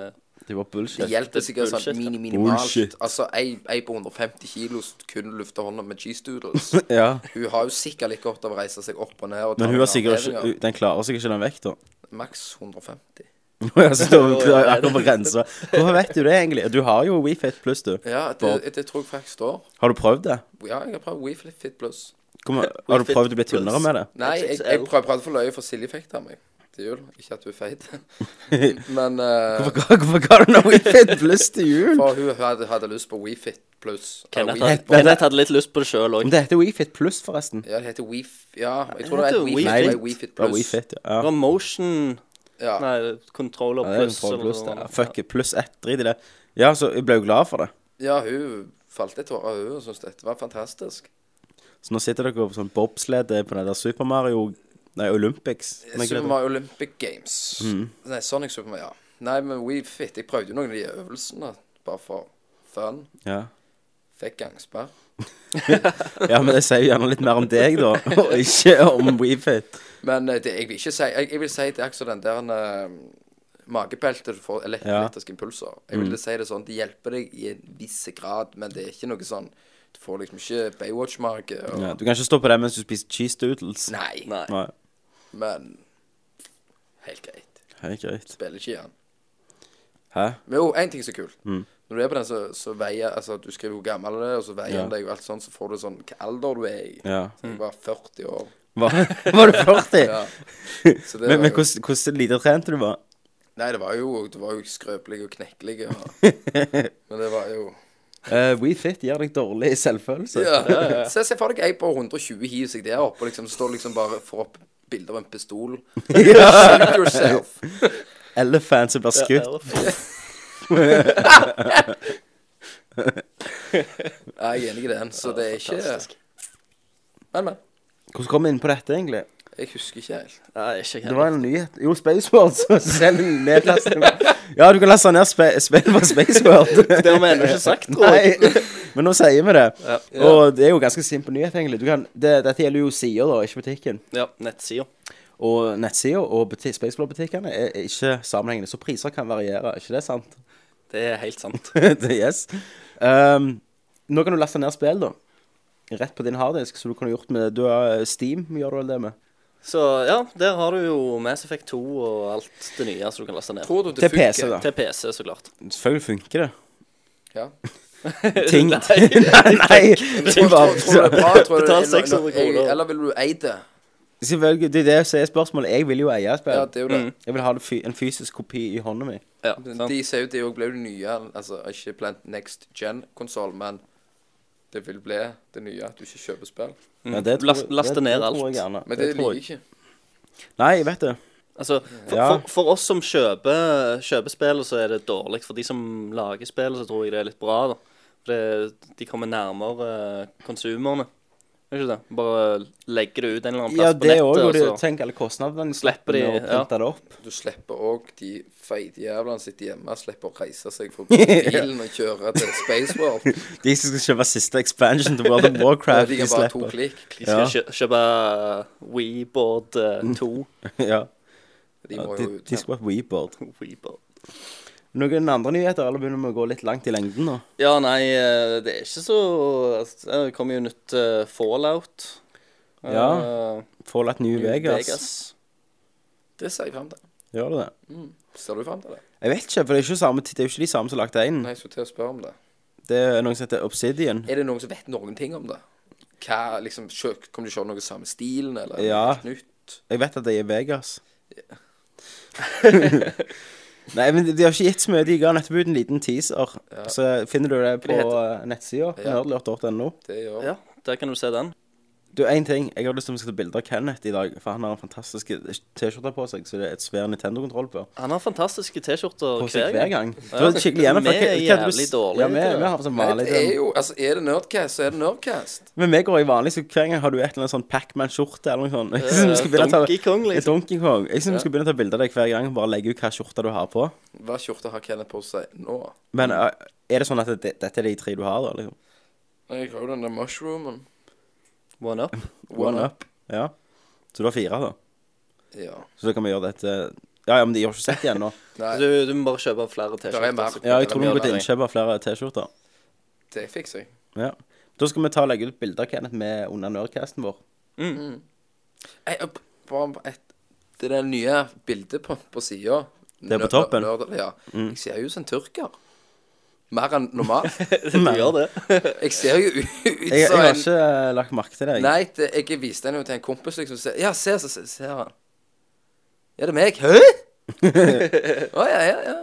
Det var Det bullshit. hjelper sikkert Bullshit, sånn ja. mini, minimalt. Bullshit. Altså, ei, ei på 150 kilo som kun lufter hånda med cheese doodles. Ja, Hun har jo sikkert litt godt av å reise seg opp og ned og ta Men hun noen har sikkert ikke, armhevinger. hun- den klarer sikkert ikke den vekta. Maks 150. Jeg står hun akkurat på grensa. Hvorfor vet du det, egentlig? Du har jo WeFit pluss, du. Ja, det, det tror jeg faktisk står. Har du prøvd det? Ja, jeg har prøvd WeFit Fit Plus. Kommer, har du WeFit prøvd å bli Plus. tynnere med det? Nei, jeg, jeg prøv- prøvde for løye, for Silje fikk det av meg til jul. Ikke at hun er feit. Men eh, Hvorfor ga- Hvorfor ga du noe WeFit pluss til jul? for hun hadde, hadde lyst på WeFit Plus. eller Kenneth, We hadde- Fit Plus. Kenneth hadde litt lyst på det sjøl òg. Men det heter WeFit pluss, forresten. Ja, det heter WeFit Ja, jeg tror det heter heter jo WeFit Nei, Plus. det- WeFit Ja, Plus. WeFit, ja. Det var Motion Ja. Nei, controller Ja, det er pluss. kontroll pluss, det. eller noe Ja, sånt. Fuck it, pluss ett, drit i det. Ja, så jeg ble jo glad for det. ja, hun falt i tårer, hun, og syntes dette var fantastisk. Så nå sitter dere på sånn bobslede på den der Super Mario Nei, Olympics. Nei, hva Super heter det? Mario Olympic Games. Mm. Nei, Sonic Super Mario. Ja. Nei, men WeFit Jeg prøvde jo noen av de øvelsene, bare for fun. Ja. Fikk gangsperr. ja, men det sier jo gjerne litt mer om deg, da, og ikke om WeFit. Men eh, det, jeg vil ikke si Jeg, jeg vil si det er akkurat den der uh, magepeltet du får elekt- Ja. Mm. elektriske impulser. Jeg vil si det sånn, det hjelper deg i en viss grad, men det er ikke noe sånn Du får liksom ikke Baywatch-mage og Ja, du kan ikke stå på det mens du spiser cheese doodles. Nei, Nei. Nei. men Helt greit. Helt greit. Spiller ikke igjen. Hæ? Men jo, én ting som er kult. Mm. Når du er på den, så, så veier Altså, du skriver hvor gammel du er, og så veier Ja. den deg, og alt sånt, så får du sånn hva alder du er i. Ja. Så jeg var 40 år. Var, var du 40? Ja. Så det Men, var men jo- hvordan hvordan lite trent du var? Nei, det var jo, det var jo skrøpelig og knekkelig. Og, men det var jo Uh, WeFit gir deg dårlig selvfølelse. Ja. Se, se for deg ei på 120 hiver seg der oppe og liksom står liksom bare får opp bilde av en pistol. Shoot yourself. Elephant som blir skutt. Ja, jeg er enig i den, så det er ikke Fantastisk. Men, men. Hvordan kom vi inn på dette, egentlig? Jeg husker ikke helt. Nei, ikke Det var en nyhet. Jo, Spaceworld så selger de nedlasting. Ja, du kan laste ned spe spill på Spaceworld. Det har vi ennå ikke sagt. tror jeg. Nei, men nå sier vi det. Ja. Og det er jo ganske simpel nyhet, egentlig. Du kan, det, dette gjelder jo sider, da, ikke butikken. Ja, nettsida. Og nettsida og buti- Spaceworld-butikkene er er ikke sammenhengende, så priser kan variere. ikke det sant? Det er helt sant. Det- yes. Ehm, nå kan du laste ned spill, da. Rett på din harddisk, som du kunne gjort med du har eh, Steam. gjør du vel det med? Så ja, der har du jo Mass Effect 2 og alt det nye som du kan laste ned. Tror du det Til PC, da. Til PC, så klart. Selvfølgelig funker det. Ja. Ting Nei. Nei! Tror du, tror du det er bra? Tror du det Betal er- 600 kroner. Eller vil du eie det? Selvfølgelig, det er det som er spørsmålet. Jeg vil jo eie spill. Ja, det er jo det. Jeg vil ha det fy en fysisk kopi i hånda mi. Ja, sant. De sier jo det òg ble det nye, altså ikke blant next gen-konsoll, men det vil bli det nye at du ikke kjøper spill. Ja, det tror Mm. Last- jeg- laste det- ned det tror alt. jeg gjerne. Men det, tror liker jeg jeg. ikke. Nei, jeg vet det. Altså, for, Ja. for, for oss som kjøper, kjøper spill, så er det dårlig. For de som lager spill, så tror jeg det er litt bra. da. For det, de kommer nærmere eh, konsumerne. Er ikke det? Bare legger det ut en eller annen plass Ja, det på òg. Og nettet. de- og så- tenk alle kostnadene. Slipper de, med å ja. printe det opp. Du slipper òg de feite jævlene sitter hjemme, slipper å reise seg fra bilen og kjøre til Space World. De som skal kjøpe siste expansion til World of Og Warcraft, de de kan bare to slipper. klikk. De skal kjø- kjøpe eh, WeBoard Mm. 2. Ja, De ja, må de, jo ut. de skal på WeBoard. WeBoard. Noen andre nyheter? Eller begynner vi å gå litt langt i lengden nå? Ja, nei, eh, det er ikke så altså, Det kommer jo nytt eh, Fallout. eh, Ja. Fallout New, New Vegas. Det ser jeg frem til. Gjør det det? Ser du frem til det? Jeg vet ikke, for det er, ikke samme, det er jo ikke de samme som lagde én. Nei, jeg skulle til å spørre om det. Det er noen som heter Obsidian. Er det noen som vet noen ting om det? Hva, liksom, kjø- Kommer de til å kjøre noe samme stilen, eller Ja. noe nytt? Jeg vet at de er i Vegas. Nei, men de de har ikke gitt så mye. De ga nettopp ut en liten teaser. Så finner du det på det eh, nettsida. Ja. Nerdlurt.no. Det gjør Ja, der kan du se den. Du, én ting. Jeg har lyst til at vi skal ta bilde av Kenneth i dag, for han har en fantastisk T-skjorte på seg, så det er et svær Nintendo-kontroll på. Han har fantastiske T-skjorter På seg hver gang. Det Ja. var skikkelig gjerne Vi er jævlig dårlige Ja, vi, til det. vi har sånn Nei, vanlig det er jo, altså, er det Nerdcast, så er det Nerdcast. Men vi går i vanlig, så hver gang har du et eller annet sånn Pac-Man-skjorte eller noe sånt. Jeg synes vi skal begynne å ta- Eh, Donkey Kong, liksom. Donkey Kong. Jeg syns vi skal begynne å ta bilde av deg hver gang og bare legge ut hva skjorte du har på. Hva skjorte har Kenneth på seg nå? Men eh, er det sånn at det, dette er de tre du har, da? liksom? Nei, Jeg har jo den der mushroomen. One up. One up. Ja. Så du har fire, da. Ja. Så da kan vi gjøre dette Ja, ja, men de har ikke sett det ennå. Nei, Du, du må bare kjøpe flere der er mer. T-skjorter. Ja, jeg tror vi Eller må mer gå til der. innkjøp av flere T-skjorter. Det fikser jeg. Ja. Da skal vi ta og legge ut bilder av Kenneth med under nerdcasten vår. Ei, opp, bare et, det der nye bildet på, på sida. Det er på toppen. Mm. ja. Jeg ser jo ut som en tyrker. Mer enn normalt. Du gjør det. Jeg ser jo ut Jeg, jeg som har en ikke øh, lagt merke til det. jeg. Nei, det, jeg viste den jo til en kompis, liksom. Så, ja, se, så se- ser han. Er det meg? Hæ? Å ja, ja, ja.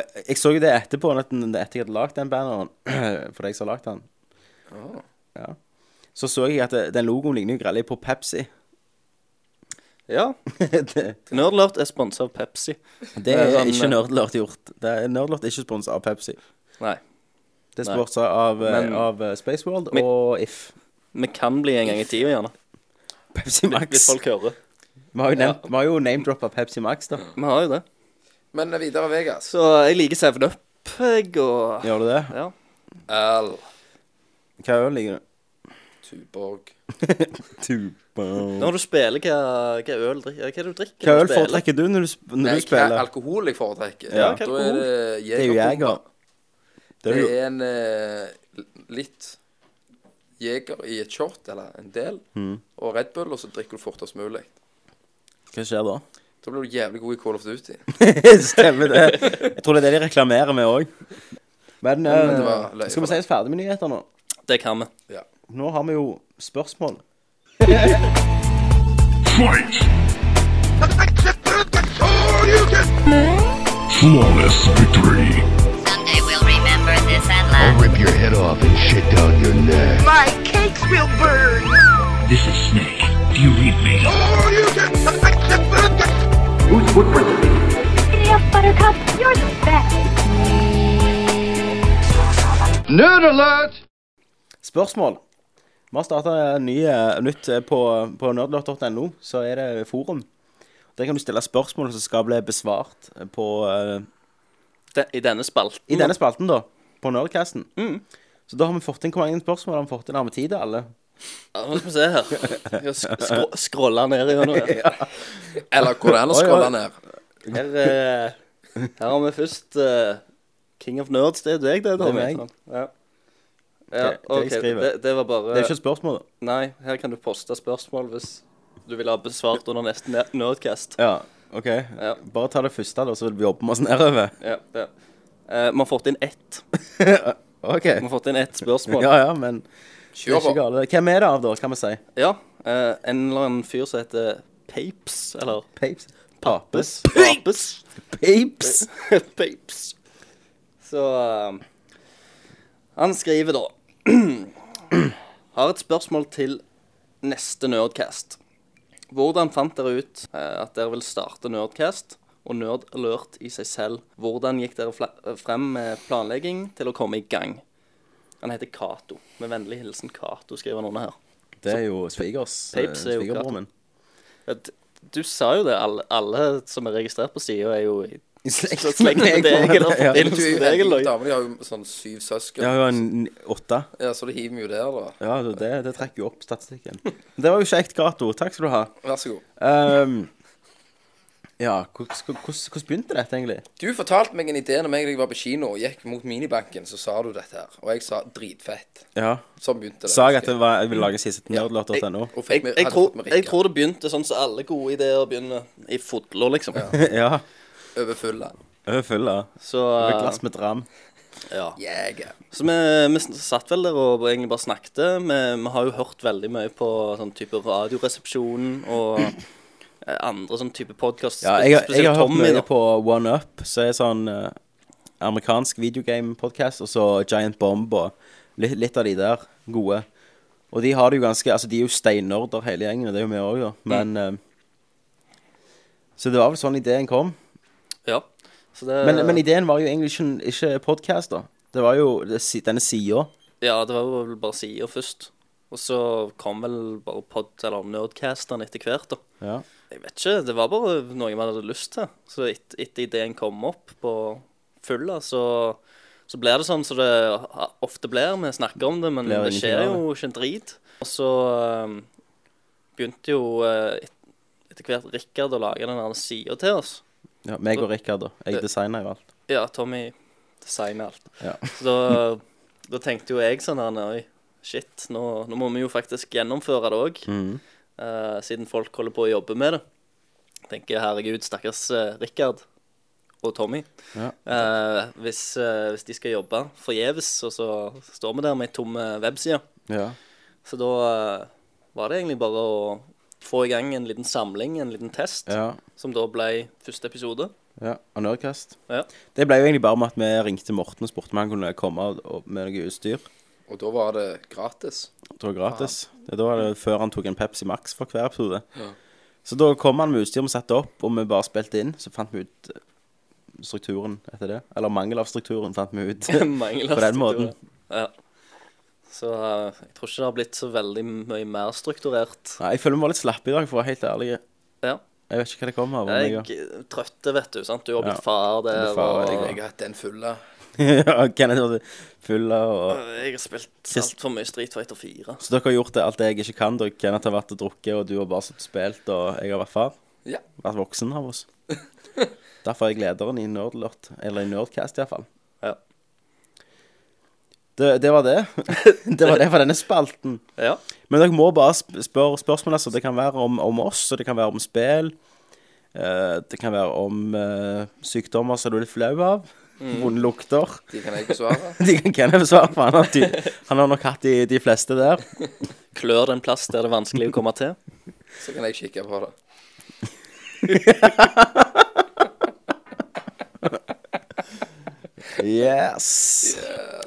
Jeg- Jeg så jo det etterpå, at den- etter jeg hadde lagd den banneren. For deg som har lagd den. Ja. Så så jeg at det- den logoen ligner jo grellig på Pepsi. Ja. det, Nerdlert er sponsa av Pepsi. det er sånn, ikke eh, Nerdlert gjort. Det er, Nerdlert er ikke sponsa av Pepsi. Nei. Det er Nei. sponsa av, eh, Men- av eh, Space World Men- og If. Vi kan bli en gang i tida, gjerne. Pepsi Hvis Max. folk hører. Vi har jo, nevnt- vi har jo name-droppa Pepsi Max, da. Vi har jo det. Men videre Vegas. Så jeg liker 7 Up, jeg, og Gjør du det? Ja. Al Hva øl liker du? Tuborg. Tuba. Når du spiller, hva, hva øl drikker Hva er det du drikker? Hva når du øl spiller? foretrekker du når du, sp- når Nei, du hva spiller? alkohol jeg foretrekker? Ja, da hva er det Det er jo Jeger. Jegerpumpa. Det er Det jo er en eh, litt Jeger i et short, eller en del, Mm. og Red Bull, og så drikker du fortest mulig. Hva skjer da? Da blir du jævlig god i Call of Duty. Stemmer det. Jeg tror det er det de reklamerer med òg. Men, eh, det var løye skal vi for si oss ferdig med nyheter nå? Det kan vi. Ja. Nå har vi jo spørsmål. Fight! All you can. Flawless victory! Someday we'll remember this and I'll laugh. rip your head off and shit down your neck. My cakes will burn. This is Snake. Do you read me? All you can. Lift me up, buttercup, you're the best. Nerd alert! Spørsmål. Vi har starta nytt eh, på, på nerdlot.no, så er det forum. Der kan du stille spørsmål som skal bli besvart eh, på, eh, De, I denne spalten. i denne spalten, da. På Nerdcasten. Mm. Så da har vi fått inn hvor mange spørsmål har vi fått inn. Har vi tid til alle? Ja, Nå skal vi se her. Jeg sk skro scrolle ned gjennom her. Eller går det an Oi, å oi. scrolle ned? Her, eh, her har vi først eh, King of Nerds. Det er deg, det, Tommy. meg. Ja. Ja, Det- det jeg ok, skriver. det, det var bare Det er jo ikke et spørsmål, da. Nei, her kan du poste spørsmål hvis du vil ha besvart under neste ne- Nerdcast. Ja, OK. Bare ta det første, da, så vil vi jobbe med oss nedover. Ja, ja. Eh, vi har fått inn ett. OK. Vi har fått inn ett spørsmål. Ja, ja, men det er Kjør ikke på. gale. Hvem er det av, da, kan vi si? Ja, eh, en eller annen fyr som heter Papes, eller Papes? Papes? Papes. Eh. Papes! Papes. Så eh, Han skriver da Har et spørsmål til neste Nerdcast. Hvordan fant dere ut eh, at dere vil starte Nerdcast og Nerd Alert i seg selv? Hvordan gikk dere fla frem med planlegging til å komme i gang? Han heter Cato. Med vennlig hilsen Cato, skriver han under her. Det er jo svigers. eh, Papes er jo svigerbroren klart. min. Ja, d- Du sa jo det. Alle, alle som er registrert på sida, er jo i I slekt så slekt med deg. Eller Ja. Du er forbindelse jo med deg. heldig, Eller? damer de har jo sånn syv søsken. Ja, hun var en åtte. Ja, så det hiver vi jo der, da. Ja, det, det- det trekker jo opp statistikken. Det var jo kjekt, Cato. Takk skal du ha. Vær så god. Ehm, ja, hvordan hvordan- hvordan begynte dette, egentlig? Du fortalte meg en idé når jeg var på kino og gikk mot minibanken, så sa du dette her. Og jeg sa dritfett. Ja. Sånn begynte det. Sa jeg at det var, jeg ville lage en siste nerdlåt.no? Og fikk Jeg, med- jeg, hadde tror, fått med jeg Rikard tror det begynte sånn som alle gode ideer begynner. I fodler, liksom. Ja. over fulla. Jeg er full av Så, eh, Med et glass med dram. ja. Yeah. så vi, vi sn- satt vel der og egentlig bare snakket. Vi, vi har jo hørt veldig mye på sånn type Radioresepsjonen og eh, andre sånn type podkast. Ja, jeg, jeg har hørt mye på One Up, som er sånn eh, amerikansk videogame-podkast, og så Giant Bomb og litt, litt av de der gode. Og de har det jo ganske Altså, de er jo steinnerder hele gjengen, og det er jo vi òg, da. Men eh, Så det var vel sånn ideen kom. Ja. Så det, Men, men ideen var jo egentlig ikke, ikke podkast, da. Det var jo det si- denne sida. Ja, det var vel bare sider først. Og så kom vel bare pod, eller Nerdcasteren etter hvert, da. Ja. Jeg vet ikke, det var bare noe man hadde lyst til. Så et, etter ideen kom opp på fulla, så, så blir det sånn som det ofte blir. Vi snakker om det, men Blir det ingenting skjer av det. jo ikke en drit. Og så eh, begynte jo eh, et, etter hvert Rikard å lage den der sida til oss. ja meg og Eh. Rikard, da. Jeg designer jo alt. Ja, Tommy designer alt. Ja. Så da, da tenkte jo jeg sånn her Oi, shit, nå, nå må vi jo faktisk gjennomføre det òg. Mm. Eh, siden folk holder på å jobbe med det. Tenker jeg, herregud, stakkars eh, Rikard og Tommy. Ja. Eh, hvis, eh, hvis de skal jobbe forgjeves, og så står vi der med ei tom eh, webside. Ja. Så da eh, var det egentlig bare å få i gang en liten samling, en liten test, ja. som da ble første episode. ja. Og Nerdcast. Ja. Det ble jo egentlig bare med at vi ringte Morten og spurte om han kunne komme og- og- med noe utstyr. Og da var det gratis. Det var gratis. Det var det før han tok en Pepsi Max for hver episode. Så da kom han med utstyr vi satte opp, og vi bare spilte inn. Så fant vi ut eh, strukturen etter det. Eller mangel av strukturen, fant vi ut. Mangler På den struktur, måten. Ja. Så eh, jeg tror ikke det har blitt så veldig mye mer strukturert. Nei, jeg føler vi var litt slappe i dag, for å være helt ærlig. Ja. Jeg vet ikke hva det kommer av. Jeg men er trøtte, vet du. sant? Du har Ja. blitt far der. blir far, og... Jeg har hatt den fulla. jeg- Ja, Kenneth var full av og Jeg har spilt altfor mye Street Fighter 4. Så dere har gjort det, alt det jeg ikke kan. Dere Kenneth har vært og drukket, og du har bare sittet og spilt, og jeg har vært far. Ja. Vært voksen av oss. Derfor er jeg lederen i Nerdlert. Eller i Nerdcast, iallfall. Ja. Det, det var det. det var det for denne spalten. Ja. Men dere må bare sp- spørre spørsmål. Altså. Det kan være om, om oss, og det kan være om spill. eh, det kan være om eh, sykdommer som du er litt flau av. Vonde lukter. Mm. De kan jeg besvare. De kan Kenneth svare på. Han har, ty han har nok hatt de, de fleste der. Klør den plass der det er vanskelig å komme til. Så kan jeg kikke på det. Yes! Så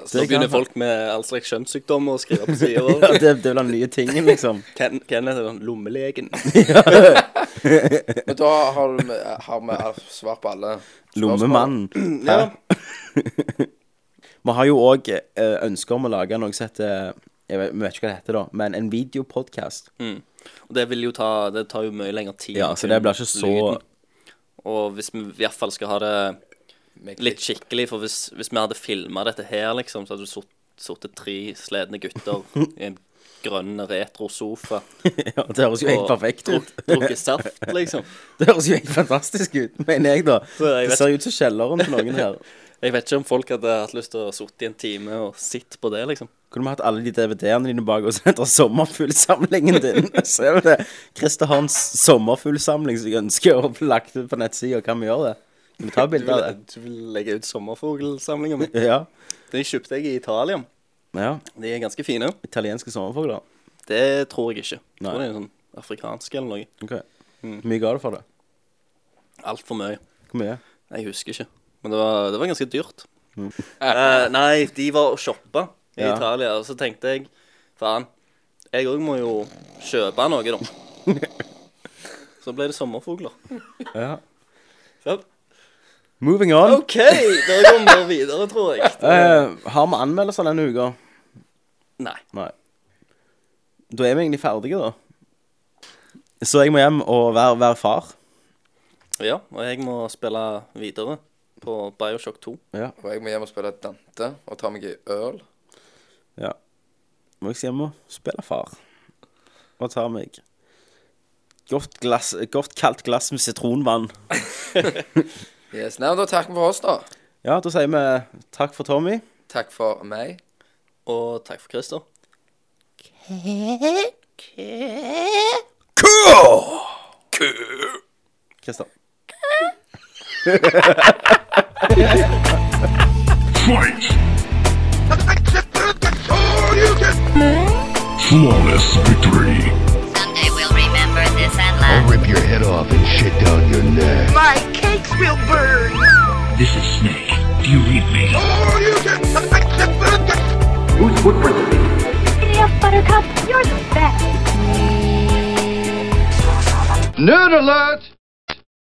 Det kan begynner han. folk med all slags kjønnssykdommer å skrive på sida vår. Det, det blir den nye tingen, liksom. Kenneth er sånn lommelegen. Men da har vi, har vi svar på alle. Lommemannen. Ja. eh, Vi har jo òg ønske om å lage noe som heter jeg vet, Vi vet ikke hva det heter, da, men en videopodkast. Mm. Og det vil jo ta Det tar jo mye lengre tid. Ja, så det blir ikke så Lyden. Og hvis vi i hvert fall skal ha det Med litt skikkelig, for hvis, hvis vi hadde filma dette her, liksom, så hadde du sittet tre slitne gutter i en grønn retrosofa ja, Det høres jo helt og perfekt ut. druk- drukket saft, liksom. Det høres jo helt fantastisk ut, mener jeg, da. jeg Det vet- ser jo ut som kjelleren til noen her. Jeg vet ikke om folk hadde hatt lyst til å sitte i en time og sitte på det, liksom. Kunne vi hatt alle de DVD-ene dine bak oss etter sommerfuglsamlingen din? Ser du det? Christer har en s- sommerfuglsamling som jeg ønsker å bli lagt ut på nettsida. Kan vi gjøre det? Kan vi ta Du bilde av vil, det? du vil legge ut sommerfuglsamlinga mi? Ja. Den kjøpte jeg i Italia. ja. De er ganske fine. Italienske sommerfugler. Det tror jeg ikke. Jeg Nei. tror det er en sånn afrikansk eller noe. Ok. Hvor mye ga du for det? Altfor mye. Mm. Hvor mye? Jeg husker ikke. Men det var, det var ganske dyrt. Eh, nei, de var og shoppa i Ja. Italia, og så tenkte jeg faen, jeg òg må jo kjøpe noe, da. så ble det sommerfugler. Ja. Sant? Moving on. OK, da kommer vi videre, tror jeg. Eh, har vi anmeldelser denne uka? Nei. Nei. Da er vi egentlig ferdige, da. Så jeg må hjem og være, være far. Ja, og jeg må spille videre på Bioshock 2. Og jeg må hjem og spille Dante og ta meg en øl. Ja. Må jeg si hjem og spille far. Og ta meg godt, glass, godt kaldt glass med sitronvann. Yes. Nei, men da takker vi for oss, da. Ja, da sier vi takk for Tommy. Takk for meg. Og takk for Christer. Kristian. Fight! you can Flawless victory! Someday we'll remember this and laugh. I'll rip your head off and shit down your neck. my cakes will burn. This is Snake. Do you read me? Or you can Giddy up, Buttercup, you're the best. Nerd alert!